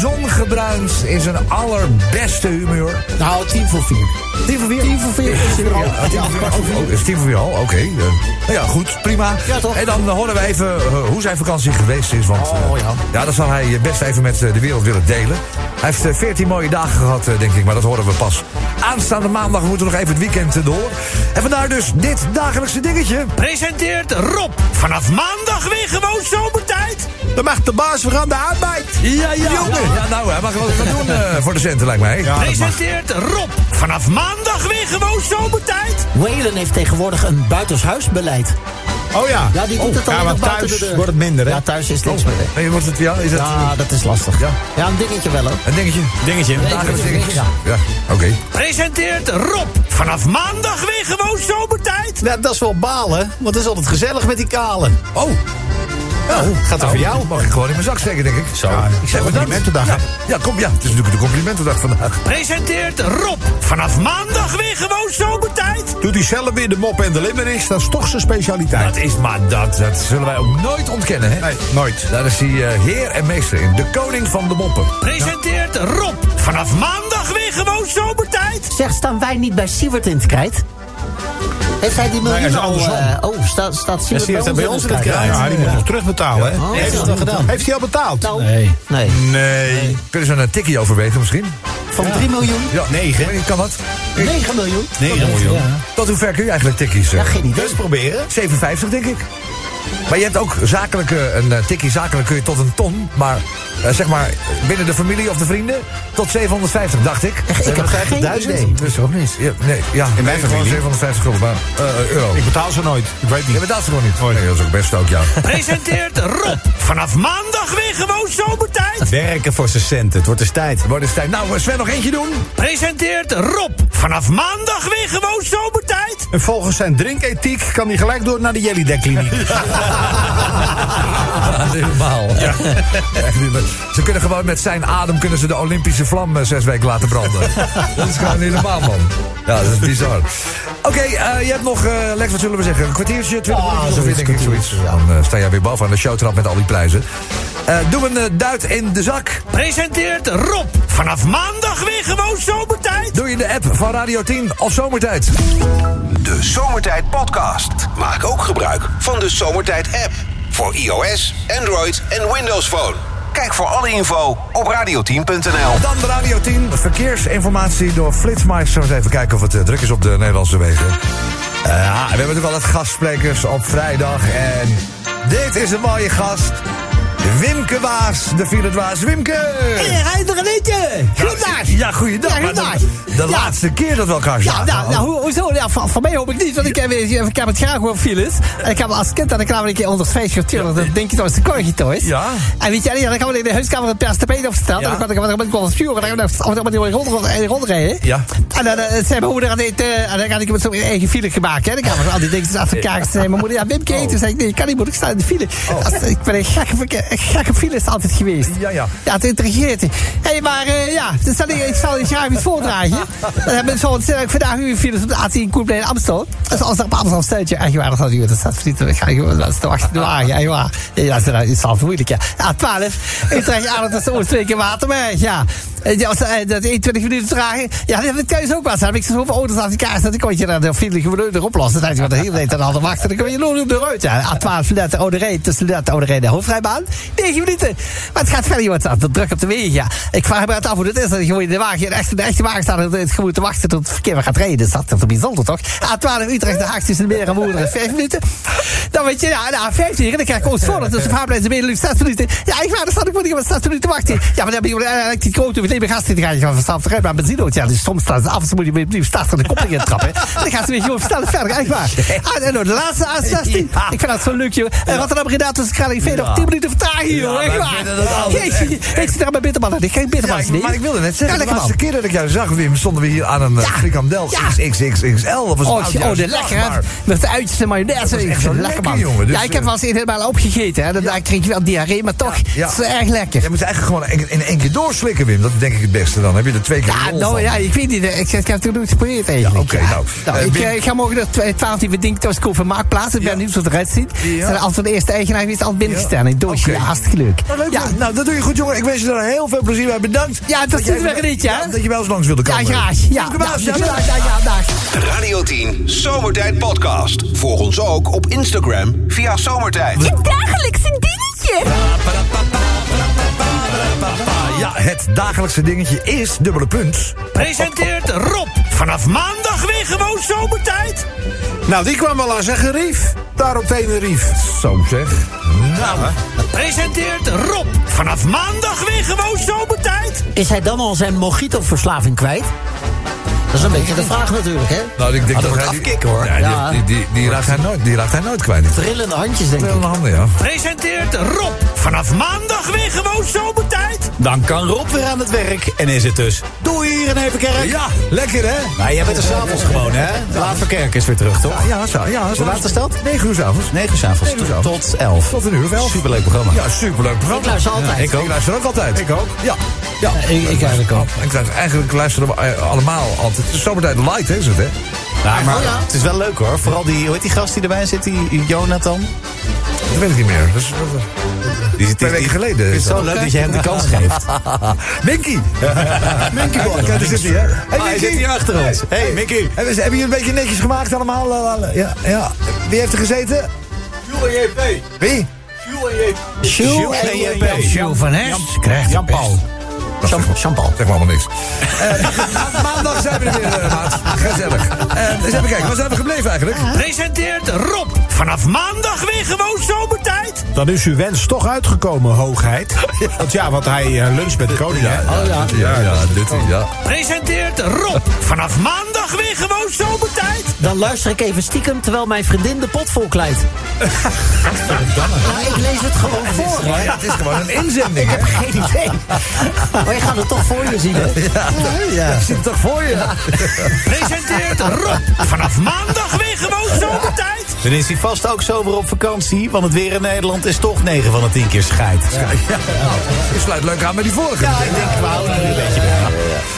S2: zongebruind in zijn allerbeste humeur.
S10: Nou, tien voor vier.
S2: Tien voor vier?
S10: Tien voor vier is hier al.
S2: Ja, tien voor vier. Oh, oh, is tien voor vier al? Oké. eh, nou ja, goed. Prima.
S10: Ja, toch?
S2: En dan horen we even eh, hoe zijn vakantie geweest is. Want eh,
S10: Oh, ja.
S2: ja, dat zal hij eh, best even met eh, de wereld willen delen. Hij heeft eh, 14 mooie dagen gehad, eh, denk ik. Maar dat horen we pas. Aanstaande maandag moeten we nog even het weekend eh, door. En vandaar dus dit dagelijkse dingetje.
S11: Presenteert Rob vanaf maandag weer gewoon zomertijd.
S6: Dan mag de baas weer aan de arbeid.
S11: Ja, ja.
S2: Jongen! Ja, nou, hij mag wel wat doen eh, voor de centen, lijkt mij.
S11: Presenteert Rob vanaf maandag weer gewoon zomertijd.
S10: Whalen heeft tegenwoordig een buitenshuisbeleid.
S6: Oh ja.
S10: Ja, die doet het alleen
S6: ja,
S10: nog
S6: want
S10: buiten
S6: thuis
S10: de deur.
S6: wordt het minder, hè? Oh.
S10: Ja, thuis is niks meer. hè.
S2: Nee, wordt het, ja, is het
S10: Ja, dat is lastig.
S2: Ja.
S10: Ja, een dingetje wel, hoor.
S2: een dingetje?
S5: Dingetje.
S2: Dagelijks dingetje?
S10: Ja.
S2: Ja, oké.
S11: Presenteert Rob vanaf maandag weer gewoon zomertijd.
S5: Nou, dat is wel balen, want het is altijd gezellig met die kale.
S2: Oh!
S5: Nou, gaat er voor jou?
S2: Mag ik gewoon in mijn zak steken, denk ik. Zo. ik zeg bedankt.
S6: Complimentendag, hè?
S2: Ja, ja, kom, ja, het is natuurlijk de complimentendag vandaag.
S11: Presenteert Rob vanaf maandag weer gewoon zomertijd.
S6: Doet hij zelf weer de mop en de limericks, dat is toch zijn specialiteit.
S2: Dat is maar dat. Dat zullen wij ook nooit ontkennen, hè?
S6: Nee, nooit.
S2: Daar is hij eh, heer en meester in. De koning van de moppen.
S11: Presenteert Rob vanaf maandag weer gewoon zomertijd.
S10: Zeg, staan wij niet bij Siewert in het krijt? Heeft hij die
S6: hij is
S10: miljoen al...
S6: andersom.
S10: eh, oh, staat, staat Siewert
S5: Siewert
S10: bij,
S5: staat
S10: ons
S5: bij
S10: in
S5: ons
S10: het
S5: in het
S10: krijt?
S6: Ja, die moet nog terugbetalen, hè?
S10: Oh, heeft hij dat gedaan?
S6: Heeft hij al betaald?
S10: Nou, nee.
S6: Nee.
S2: Kunnen ze een tikkie overwegen misschien?
S10: Van 3 miljoen,
S2: Ja.
S5: Negen.
S2: Ik weet niet, Kan dat?
S10: 9 miljoen.
S2: Tot hoever kun je eigenlijk tikkies? eh,
S10: Ja, geen idee.
S5: Eens proberen.
S2: 57, denk ik. Maar je hebt ook zakelijke, een eh, tikkie zakelijk kun je tot een ton. Maar eh, zeg maar binnen de familie of de vrienden tot 750, dacht ik.
S10: Ik heb geen
S2: 750.000?
S10: idee.
S2: Dus ook niet. Ja, nee, ja.
S12: In mijn
S2: Nee, gewoon
S12: familie.
S2: 750 gulden, maar eh, euro.
S6: Ik betaal ze nooit. Ik weet
S2: Je
S6: niet.
S2: betaalt ze gewoon niet. Nee, dat is ook best ook, ja.
S11: Presenteert Rob vanaf maandag weer gewoon zomertijd.
S5: Werken voor zijn centen, het wordt dus tijd.
S2: Wordt het tijd. Nou, eh, Sven, nog eentje doen.
S11: Presenteert Rob vanaf maandag weer gewoon zomertijd.
S6: En volgens zijn drinkethiek kan hij gelijk door naar de Eh, Jellydek-kliniek.
S2: Helemaal. Ja. Echt niet, maar Ze kunnen gewoon met zijn adem kunnen ze de Olympische vlam eh, zes weken laten branden. dat is gewoon helemaal, man. Ja, dat is bizar. Oké, eh, je hebt nog, eh, Lex, wat zullen we zeggen? Een kwartiertje, twintig
S10: Ja,
S2: minuten ongeveer,
S10: zoiets,
S2: denk ik, zoiets.
S10: kwartiertje,
S2: Dan eh, sta jij weer boven aan de showtrap met al die prijzen. Eh, doe een eh, duit in de zak.
S11: Presenteert Rob vanaf maandag weer gewoon zomertijd.
S2: Doe je de app van Radio 10 of Zomertijd.
S1: De Zomertijd Podcast. Maak ook gebruik van de Zomertijd app. Voor iOS, Android en Windows Phone. Kijk voor alle info op radio10.nl.
S2: Dan de Radio 10, verkeersinformatie door Flitsmeister. Eens even kijken of het eh, druk is op de Nederlandse wegen. Eh, ja, we hebben natuurlijk altijd gastsprekers op vrijdag. En dit is een mooie gast. Wimke Waas, de file-dwaas. Wimke!
S10: Hij is er een eentje! Groetdaars!
S2: Ja, goeiedag.
S10: Ja,
S2: maar de
S10: goedendag.
S2: de laatste keer dat we elkaar
S3: Ja,
S2: zagen.
S3: nou, nou hoe- hoezo? Ja, van, van mij hoop ik niet, want ik heb, ik heb het graag gewoon files. En ik heb als kind dan kwam ik een keer 150 of 200, dan denk je dat is de korgie thuis.
S2: Ja.
S3: En weet je, ja, dan kwam ik in de huiskamer een paar tapijt opgesteld. En dan kwam ik- dan ben ik wel aan het vuren, en dan kwam ik met die rond- rond- rondrijden.
S2: Ja.
S3: En dan eh, zei mijn moeder, aan het, eh, en dan had ik met zo'n eigen file gemaakt. Hè. Dan kwamen al die dingetjes af elkaar. Ze zei mijn moeder, ja, Wimke
S2: Oh.
S3: eten. Zei ik, nee, ik kan niet, moeder, ik sta in de file. Als- ik ben een gekke, verke- een gekke file altijd geweest.
S2: Ja, ja.
S3: Ja, het intrigeert. Hé, hey, maar eh, ja, dus zal ik, ik zal je graag iets voordragen. Dan hebben we zo ontzettend vandaag uw files op de A10 Koenplein in Amstel. Dus als er op Amstel stuitje, echt waar, dat had u, dat staat verdient. Dat ga ik gewoon dat is te wachten, wagen, echt waar. Ja, dat is, dat is al moeilijk, ja. A12, Utrecht, Aardig, dat is ooit twee keer Waterberg, ja. Eh, Ja, als, eh, dat 21 minuten vertraging. Ja, dat dat thuis ook wel. Heb ik zoveel auto's aan elkaar staan. Dan kon je daar de vriendelijke meneer erop lossen. Dan had je wat de hele tijd aan de hand wachten. Dan kom je nooit op de ruit. Ja. A12 Lette Oude Rijn. Tussen Lette Oude Rijn en de hoofdrijbaan. 9 minuten. Maar het gaat verder, jongens. Het is druk op de wegen. Ja. Ik vraag me het af hoe dit is. Dat je gewoon in de wagen, in de echte, de echte wagen staat. En het gewoon te wachten tot het verkeer weer gaat rijden. Dus dat is toch bijzonder, toch? A12 Utrecht, de Haag tussen de Meer en Moerderen. 5 minuten. Dan weet je, ja, de A15. hier, Dan krijg ik ons voor. Dus de vaarplein is Benelux. 6 minuten. Ja, ik waar, daar staat ik moet ik op 6 minuten wachten. Ja, maar dan heb je eh, een elektrische auto met lebe gasten. Dan ga je gewoon vanzelf eruit. Maar benzine ook, ja. Dus soms staat het af. Dan moet je weer opnieuw starten en de koppeling intrappen. Dan gaat ze weer gewoon versnellen verder. Echt waar. Ah, en dan de laatste A16. Ik vind dat zo leuk, joh. Eh, En Rotterdam Breda tussen Kralingen Veen. Nog 10 minuten vertraging, joh. Echt
S2: wij
S3: waar.
S2: vinden dat altijd
S3: Jeetje, Ik zit daar met bitterballen. Ik krijg bitterballen.
S2: Ja, ik- maar ik wilde net zeggen,
S3: Ja,
S2: de
S3: lekker
S2: laatste
S3: man.
S2: keer dat ik jou zag, Wim, stonden we hier aan een
S3: Ja.
S2: eh, frikandel
S3: Ja.
S2: XXXXL. Dat was een
S3: Oh,
S2: oud
S3: oh de
S2: juiste dag,
S3: lekkere.
S2: maar-
S3: Met de uitjes en mayonaise.
S2: was
S3: Ik
S2: echt
S3: vind
S2: zo
S3: het
S2: lekker, jongen. Dus,
S3: ja, ik heb
S2: eh,
S3: wel eens een helemaal opgegeten. Hè. Dan, dan kreeg je wel diarree, maar toch.
S2: ja.
S3: Het is erg lekker.
S2: Jij moet eigenlijk gewoon in- in één keer doorslikken, Wim. Dat denk ik het beste dan. Heb je er twee keer
S3: Ja,
S2: lol
S3: nou
S2: van.
S3: ja, ik weet niet. eh, Ik, ik heb toen nooit geprobeerd eigenlijk.
S2: oké,
S3: ja.
S2: nou. Eh,
S3: ik,
S2: Wim-
S3: eh, ik ga morgen dat twa- 12 uur ding thuis kopen marktplaats. Ik ben benieuwd hoe het eruit ziet. Ze zijn altijd de eerste eigenaar geweest, altijd binnengestaan. In het doosje, ja, hartstikke leuk.
S2: Nou, leuk, man. nou, dat doe je goed, jongen. Ik wens je er heel veel plezier bij. Bedankt.
S3: Ja, tot
S2: Dat jij-
S3: ziens weer, Rietje, hè?
S2: Ja, Dat je bij ons langs wilde
S3: Ja,
S2: komen.
S3: graag. Ja,
S2: Dank u
S3: ja,
S2: wel.
S3: ja, ja,
S2: Ja,
S3: ja, dag.
S1: Radio 10 Zomertijd Podcast. Volg ons ook op Instagram via Zomertijd.
S13: Je dagelijkse dingetje.
S2: Ja, het dagelijkse dingetje is dubbele punt.
S11: Presenteert Rob vanaf maandag weer gewoon zomertijd.
S6: Nou, die kwam al aan zijn gerief. Daar op Tenerife.
S2: Zo zeg.
S11: Nou, presenteert Rob vanaf maandag weer gewoon zomertijd.
S10: Is hij dan al zijn mojito-verslaving kwijt? Dat is een beetje de vraag natuurlijk, hè?
S2: Nou, ik denk
S10: Ah, dat wordt
S2: hij die-
S10: afkicken, hoor.
S2: Ja,
S10: Ja.
S2: Die, die, die, die raakt hij nooit, die raakt hij nooit kwijt. Die
S10: Trillende handjes, denk ik.
S2: trillende handen, ja.
S11: Presenteert Rob vanaf maandag weer gewoon zomertijd.
S5: Dan kan Rob weer aan het werk en is het dus. Doei hier in Evenkerk.
S2: Ja, lekker hè?
S5: Nou, jij bent er s'avonds gewoon, hè? Laat Verkerk is weer terug, toch?
S2: Ja, zo, ja. Hoe
S5: laat is dat?
S2: 9 uur s'avonds.
S5: 9 uur s'avonds
S2: Negen uur 's avonds.
S5: tot 11.
S2: Tot een uur of elf.
S5: Superleuk programma.
S2: Ja, superleuk programma.
S10: Ik luister altijd.
S2: Ja, ik, ook. ik luister ook altijd. Ik ook. Ja. ja.
S14: ik- ik eigenlijk ook.
S2: Ik luister, eigenlijk luisteren we eh, allemaal altijd. Het is Zomertijd light, hè, is het, hè?
S5: Nou, maar
S10: Oh, ja.
S5: het is wel leuk hoor. Vooral die, hoe heet die gast die erbij zit, die Jonathan?
S2: Dat weet ik niet meer. Dus,
S5: Die, die,
S2: Twee weken geleden
S5: Het
S2: is
S5: is zo
S2: dat.
S5: leuk dat je hem de kans geeft.
S2: Minky! Minky Boy. Kijk, daar zit hij, hè? Hey,
S5: Ah, hij
S2: Minky.
S5: zit hier achter ons. hey, Mickey.
S2: Hebben ze- hebben jullie een beetje netjes gemaakt allemaal? Eh, Ja, ja. Wie heeft er gezeten? Wie?
S10: Sjoe en JP.
S14: Joe van Hest krijgt
S5: Jan Paul.
S10: Jean- Jean-Paul.
S2: Zeg maar allemaal niks. Eh, maandag zijn we er weer, eh, maat. Gezellig. Eh, eens even kijken, waar zijn we gebleven eigenlijk?
S11: Presenteert Rob vanaf maandag weer gewoon zomertijd.
S6: Dan is uw wens toch uitgekomen, hoogheid. Want ja, want hij eh, luncht met de koning, hè?
S2: ja. Ja, ja, dit, ja.
S11: Presenteert Rob vanaf maandag weer gewoon zomertijd.
S10: Dan luister ik even stiekem terwijl mijn vriendin de pot vol kleidt. Nou, ik lees het gewoon voor, hè?
S2: Ja, het is gewoon een inzending,
S10: Ik heb
S2: hè?
S10: geen idee. Maar je gaat het toch voor je zien, hè?
S2: Ja, ik zit het toch voor je?
S11: Presenteert Rob vanaf maandag weer gewoon zomertijd.
S5: Dan is hij vast ook sober op vakantie, want het weer in Nederland is toch 9 van de 10 keer scheid. Ja,
S2: Je sluit leuk aan met die vorige.
S5: ik denk, we houden er een beetje bij.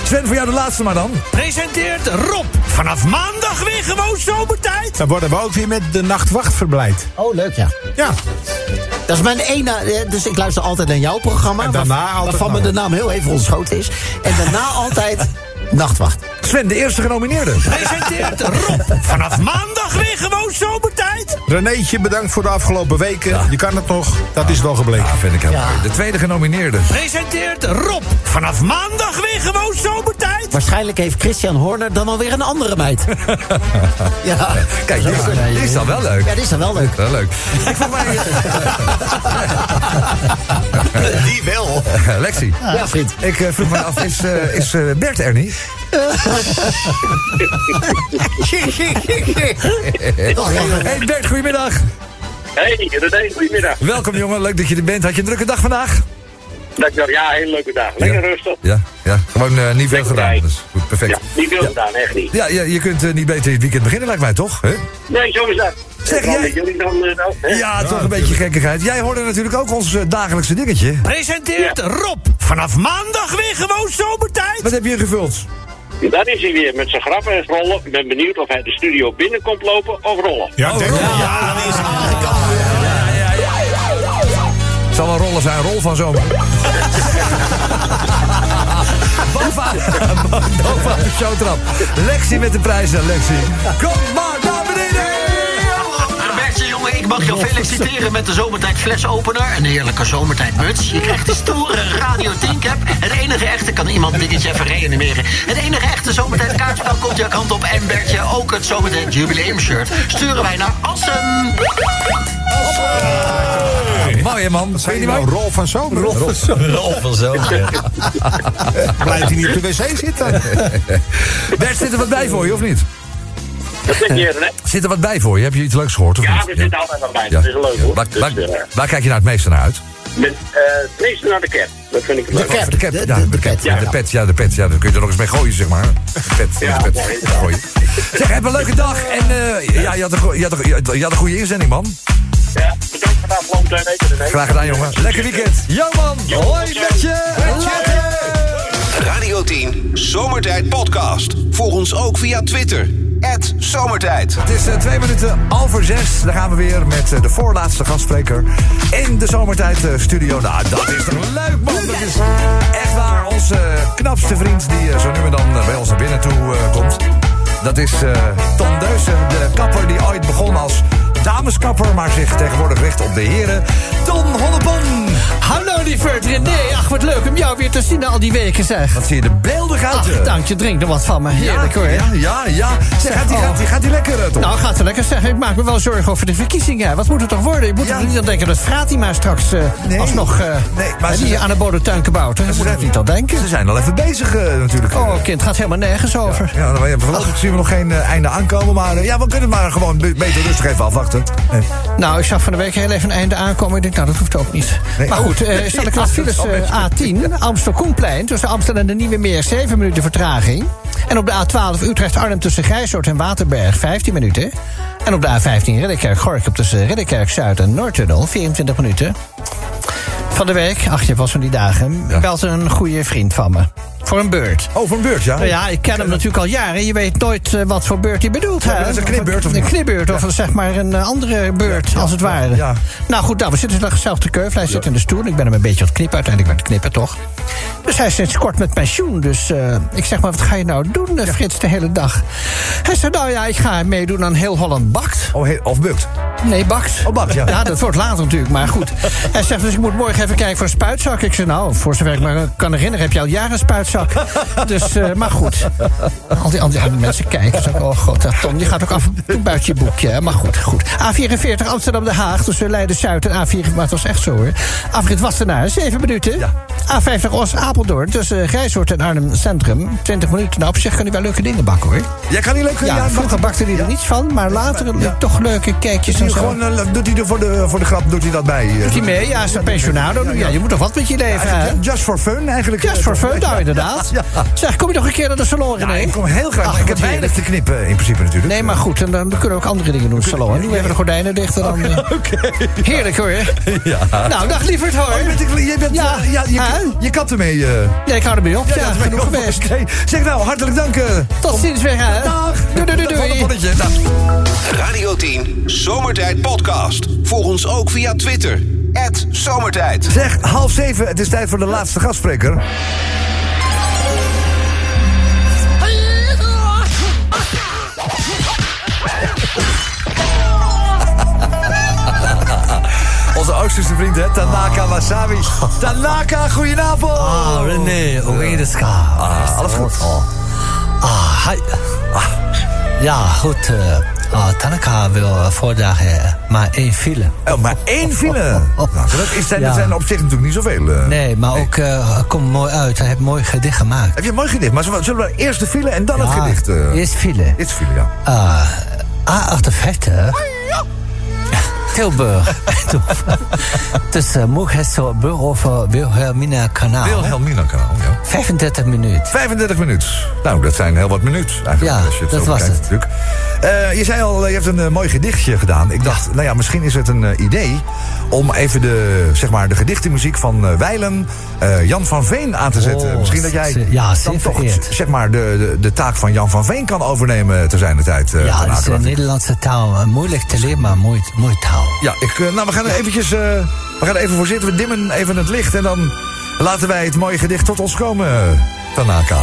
S2: Sven, voor jou de laatste maar dan.
S11: Presenteert Rob vanaf maandag weer gewoon zomertijd.
S6: Dan worden we ook weer met de nachtwacht verblijd.
S10: Oh, leuk, ja.
S6: Ja,
S10: Dat is mijn ene... eh, Dus ik luister altijd naar jouw programma.
S6: En daarna
S10: waar-
S6: altijd
S10: Waarvan me de
S6: naar
S10: naam heel even ontschoten is. En daarna altijd Nachtwacht.
S2: Sven, de eerste genomineerde.
S11: Presenteert Rob vanaf maandag weer gewoon zomertijd.
S6: Renéetje, bedankt voor de afgelopen weken. Je kan het nog, dat is wel gebleken.
S2: Ja, vind ik heel
S10: Ja.
S2: mooi. De tweede genomineerde.
S11: Presenteert Rob vanaf maandag weer gewoon zomertijd.
S10: Waarschijnlijk heeft Christian Horner dan alweer een andere meid. ja.
S2: Kijk, dit is, dit is dan wel leuk.
S10: Ja, dit is dan wel leuk.
S2: Wel leuk. Ik vond mij...
S5: Die wel.
S2: Lexi.
S10: Ja, vriend.
S2: Ik eh, vroeg me af, is, eh, is eh, Bert er niet? Hey Bert, goedemiddag.
S7: Hey, René, goedemiddag.
S2: Welkom jongen, leuk dat je er bent. Had je een drukke dag vandaag?
S7: Dankjewel. Ja, hele leuke dag. Lekker rustig.
S2: Ja, ja. gewoon eh, niet veel
S7: Lekker
S2: gedaan.
S7: vrij.
S2: Dus goed,
S7: Ja,
S2: perfect.
S7: niet veel gedaan, echt niet.
S2: Ja, ja, je kunt eh, niet beter in het weekend beginnen, lijkt mij toch? Hè?
S7: Nee, zo is dat.
S2: Zeg
S7: Ik hoop
S2: jij-
S7: dat jullie dan... eh, dan, hè?
S2: Ja, toch een beetje gekkigheid. Jij hoorde natuurlijk ook ons eh, dagelijkse dingetje.
S11: Presenteert Rob vanaf maandag weer gewoon zomertijd.
S2: Wat heb je gevuld?
S7: Dat is hij weer, met zijn grappen en rollen. Ik ben benieuwd of hij de studio binnen komt lopen of rollen.
S6: Ja, denk ik.
S5: Oh, Ja, dan is hij aangekant.
S2: Zal een rollen zijn, rol van zomer. Bovenaan bovenaan de showtrap. Lexi met de prijzen, Lexi. Kom maar naar beneden!
S10: Beste jongen, ik mag jou feliciteren met de zomertijd flesopener. Een heerlijke zomertijdmuts. Je krijgt de stoere Radio 10 cap. Het enige echte kan iemand dit eens even reanimeren. Het enige echte zomertijd kaartspel komt jouw kant op. En Bertje, ook het zomertijd jubileum shirt sturen wij naar Assen.
S2: Mooi hè, man. Vind je
S6: Zijn
S2: niet
S6: nou
S2: mooi?
S6: rol van zomer? Rol.
S5: Rob van zo.
S6: Blijft hij niet op de wc zitten?
S2: Bert, zit er wat bij voor je, of niet?
S7: Dat zeg je, René.
S2: Zit er wat bij voor je? Heb je iets leuks gehoord, of
S7: Ja,
S2: niet?
S7: we zitten altijd aan bij. Dat is leuk, hoor.
S2: Waar,
S7: Dus,
S2: waar-
S7: eh,
S2: waar kijk je nou het meeste naar uit?
S7: met, eh, het meeste naar de cap. Dat vind ik het leuk.
S2: De cap, ja, de cap. Ja, de pet, ja, de pet. Ja, daar kun je er nog eens mee gooien, zeg maar. De pet,
S7: Ja,
S2: de pet.
S7: mooi.
S2: Gooien. Zeg, heb een leuke dag. En eh, ja, je had, een, go- je, had een, je had- je had een goede inzending, man.
S7: Ja, bedankt voor de afgelopen twee weken, René.
S2: Graag gedaan, jongen. Lekker weekend. Jo, man. Hoi, met je. Later.
S1: Zomertijd Podcast. Volg ons ook via Twitter. Zomertijd.
S2: Het is eh, twee minuten over zes. Daar gaan we weer met eh, de voorlaatste gastspreker in de Zomertijd eh, Studio. Nou, dat is toch leuk, man. Dat is echt waar. Onze eh, knapste vriend die eh, zo nu en dan eh, bij ons naar binnen toe eh, komt. Dat is eh Tom Deussen, de kapper die ooit begon als dameskapper... maar zich tegenwoordig richt op de heren. Ton Hollebon.
S3: Hallo lieve René, ach wat leuk om jou weer te zien na al die weken zeg. Wat
S2: zie je de beeldig uit.
S3: Ach,
S2: eh.
S3: dank je, drink er wat van me. Heerlijk hoor.
S2: ja, ja, ja. Zeg, gaat die- gaat die- gaat die lekker, eh, Tom?
S3: Nou, gaat die lekker zeg. Ik maak me wel zorgen over de verkiezingen. Wat moet het toch worden? Je moet toch niet aan denken dat Fratima straks eh, alsnog eh
S2: maar ze
S3: die
S2: zijn-
S3: aan de bodentuin gebouwt. hè? Je moet het niet aan denken.
S2: Ze zijn al even bezig eh, natuurlijk.
S3: Oh kind, het gaat helemaal nergens over.
S2: Ja, dan, ja, voorlopig zien we nog geen eh, einde aankomen. Maar eh, ja, we kunnen maar gewoon be- beter rustig even afwachten. Eh,
S3: Nou, ik zag van de week heel even een einde aankomen. Ik denk, nou, dat hoeft ook niet.
S2: Nee,
S3: maar
S2: oh.
S3: goed, eh
S2: Nee,
S3: staat de
S2: ja, dat
S3: files
S2: zal
S3: eh,
S2: best.
S3: A10, Amstel-Koenplein... tussen Amstel en de Nieuwe Meer, 7 minuten vertraging. En op de A12 Utrecht-Arnhem tussen Grijshoort en Waterberg, 15 minuten. En op de A15 Ridderkerk-Gorkum tussen Ridderkerk-Zuid en Noordtunnel, 24 minuten. Van de week, ach, je was van die dagen... belt een goede vriend van me. Voor een beurt.
S2: Oh, voor een beurt, ja.
S3: Nou ja, ik ken hem natuurlijk al jaren. Je weet nooit eh, wat voor beurt hij bedoelt.
S2: Ja,
S3: hè?
S2: dat is een knipbeurt of
S3: Een
S2: niet?
S3: knipbeurt of
S2: Ja.
S3: zeg maar een eh, andere beurt, als het ware.
S2: ja.
S3: Nou goed, nou, we zitten in dezelfde keuf. Hij zit in de stoel. Ik ben hem een beetje aan het knippen. Uiteindelijk ben ik knippen, toch? Dus hij is sinds kort met pensioen. Dus eh, ik zeg maar, wat ga je nou doen, eh, Frits, de hele dag? Hij zei, nou ja, ik ga meedoen aan Heel Holland Bakt.
S2: Oh, he- of bukt.
S3: Nee, bakt.
S2: Oh, bakt, ja.
S3: Ja, dat wordt later natuurlijk, maar goed. Hij zegt, dus ik moet morgen even kijken voor een spuitzak. Ik zei, nou, voor zover ik me kan herinneren... heb je al jaren een spuitzak. Dus, eh, maar goed. Al die andere mensen kijken. Zo, oh god, dat Tom, je gaat ook af en toe buiten je boekje. hè. Maar goed, goed. A44 Amsterdam-Den Haag tussen Leiden-Zuid en A4... Maar het was echt zo, hoor. Afrit Wassenaar, 7 minuten. A50 Os-Apeldoorn tussen Grijshoort en Arnhem Centrum. 20 minuten. Nou, op zich kan hij wel leuke dingen bakken, hoor.
S2: Jij kan niet leuk
S3: Ja, vroeger bakte hij er niets van, maar later toch leuke kijkjes en
S2: Doet
S3: zo.
S2: hij, gewoon, eh, doet hij er voor de, voor de grap doet hij dat bij? eh?
S3: Doet hij mee? Ja, is een pensionado. Ja, je moet toch wat met je leven, hè?
S2: Eigenlijk, ja, Just for fun eigenlijk. eh,
S3: Just for fun, nou inderdaad.
S2: Ja.
S3: Zeg, kom je nog een keer naar de salon, René?
S2: Ja, ik kom heel graag. maar ik heb weinig te knippen in principe natuurlijk.
S3: Nee, maar goed, en dan kunnen we ook andere dingen doen in de salon. Nu hebben we de gordijnen dicht en dan... eh, Heerlijk, hoor.
S2: Ja.
S3: Nou, dag lieverd, hoor.
S2: Oh, je bent, je bent,
S3: Ja.
S2: ja, ja, je, je kapt ermee. eh.
S3: Ja, ik hou ermee op. Ja,
S2: dat is
S3: genoeg
S2: wel-
S3: geweest.
S2: Oké. Zeg nou, hartelijk dank. eh.
S3: Tot ziens weer, hè. Dag. Doei, doei, doei, doei.
S2: Bonnetje. Dag.
S1: Radio 10 Zomertijd Podcast. Volg ons ook via Twitter. Zomertijd.
S2: Zeg, half zeven, het is tijd voor de laatste gastspreker. Onze Oosterse vriend, hè? Tanaka Wasabi. Tanaka, goedenavond!
S9: Ah, René, hoe is het? Ah,
S2: alles goed?
S9: Ah, hi. Ah, ja, goed. eh, ah, Tanaka wil eh, vandaag eh, maar één file.
S2: Oh, maar één file. Nou, dat is, zijn,
S9: Ja.
S2: dat zijn op zich natuurlijk niet zoveel. eh.
S9: Nee, maar ook eh, komt mooi uit. Hij heeft mooi gedicht gemaakt.
S2: Heb je een mooi gedicht? Maar zullen we- zullen we eerst de file en dan het
S9: Ja,
S2: gedicht? eh?
S9: Eerst file.
S2: Eerst file, ja.
S9: Ah, A58. Tilburg. eh, Tussen Moegesselburg over Wilhelmina eh, Kanaal.
S2: Wilhelmina-kanaal, ja.
S9: 35 minuten.
S2: 35 minuten. Nou, dat zijn heel wat minuten eigenlijk.
S9: Ja,
S2: als je het
S9: dat
S2: zo
S9: was
S2: bekijkt,
S9: het.
S2: natuurlijk. Eh, je zei al, eh, je hebt een eh, mooi gedichtje gedaan. Ik dacht, nou ja, misschien is het een eh, idee om even de, zeg maar, de gedichtenmuziek van eh Weilen, eh, Jan van Veen aan te zetten.
S9: Oh,
S2: misschien dat jij
S9: ze- ja, zeer
S2: dan toch
S9: vereerd.
S2: zeg maar, de, de, de taak van Jan van Veen kan overnemen te zijn de tijd. eh,
S9: Ja,
S2: van
S9: het is
S2: Aken.
S9: een Nederlandse taal. Een Moeilijk te leren, maar mooi, mooi taal.
S2: Ja, ik, eh, nou, we gaan er eventjes, eh, we gaan er even voor zitten. We dimmen even het licht en dan laten wij het mooie gedicht tot ons komen, eh, Tanaka.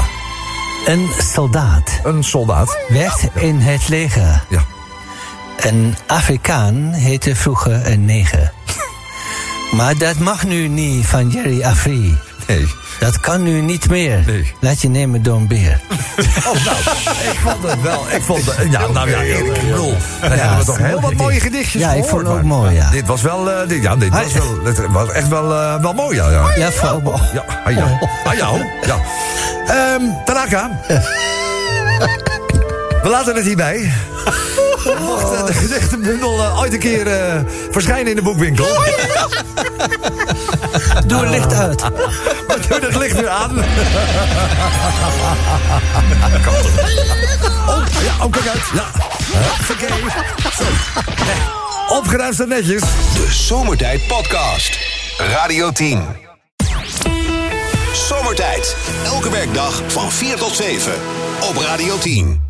S9: Een soldaat
S2: Een soldaat.
S9: werd in het leger.
S2: Ja.
S9: Een Afrikaan heette vroeger een neger. Maar dat mag nu niet van Jerry Afri.
S2: Nee.
S9: Dat kan nu niet meer.
S2: Nee.
S9: Laat je nemen door een beer.
S2: Oh, nou, ik vond het wel. Ik vond het, ja, nou ja, ik bedoel. We
S9: Ja,
S2: hebben
S9: het
S2: toch
S9: is een
S2: heel
S9: mooi
S2: wat mooie
S9: gedicht.
S2: gedichtjes
S9: Ja, ik
S2: gehoord,
S9: vond het ook
S2: maar
S9: mooi, ja.
S2: Dit was wel, eh, dit, ja, dit was,
S9: Hij-
S2: wel, het was echt wel, eh, wel mooi, ja. Ja,
S9: Ja, vrouw.
S2: ja, ah, ja. Ah, ja, ho, ja. Ehm, Tanaka. We laten het hierbij. Mocht eh, de
S9: Oh.
S2: gedichtenbundel eh, ooit een keer eh, verschijnen in de boekwinkel...
S9: Doe het licht uit.
S2: Doe dat licht weer aan. Oh, ja, oh, kijk uit. Ja. Huppakee. Zo. Nee. Opgeruimd staat netjes.
S1: De Zomertijd Podcast. Radio 10. Zomertijd. Elke werkdag van 4 tot 7 op Radio 10.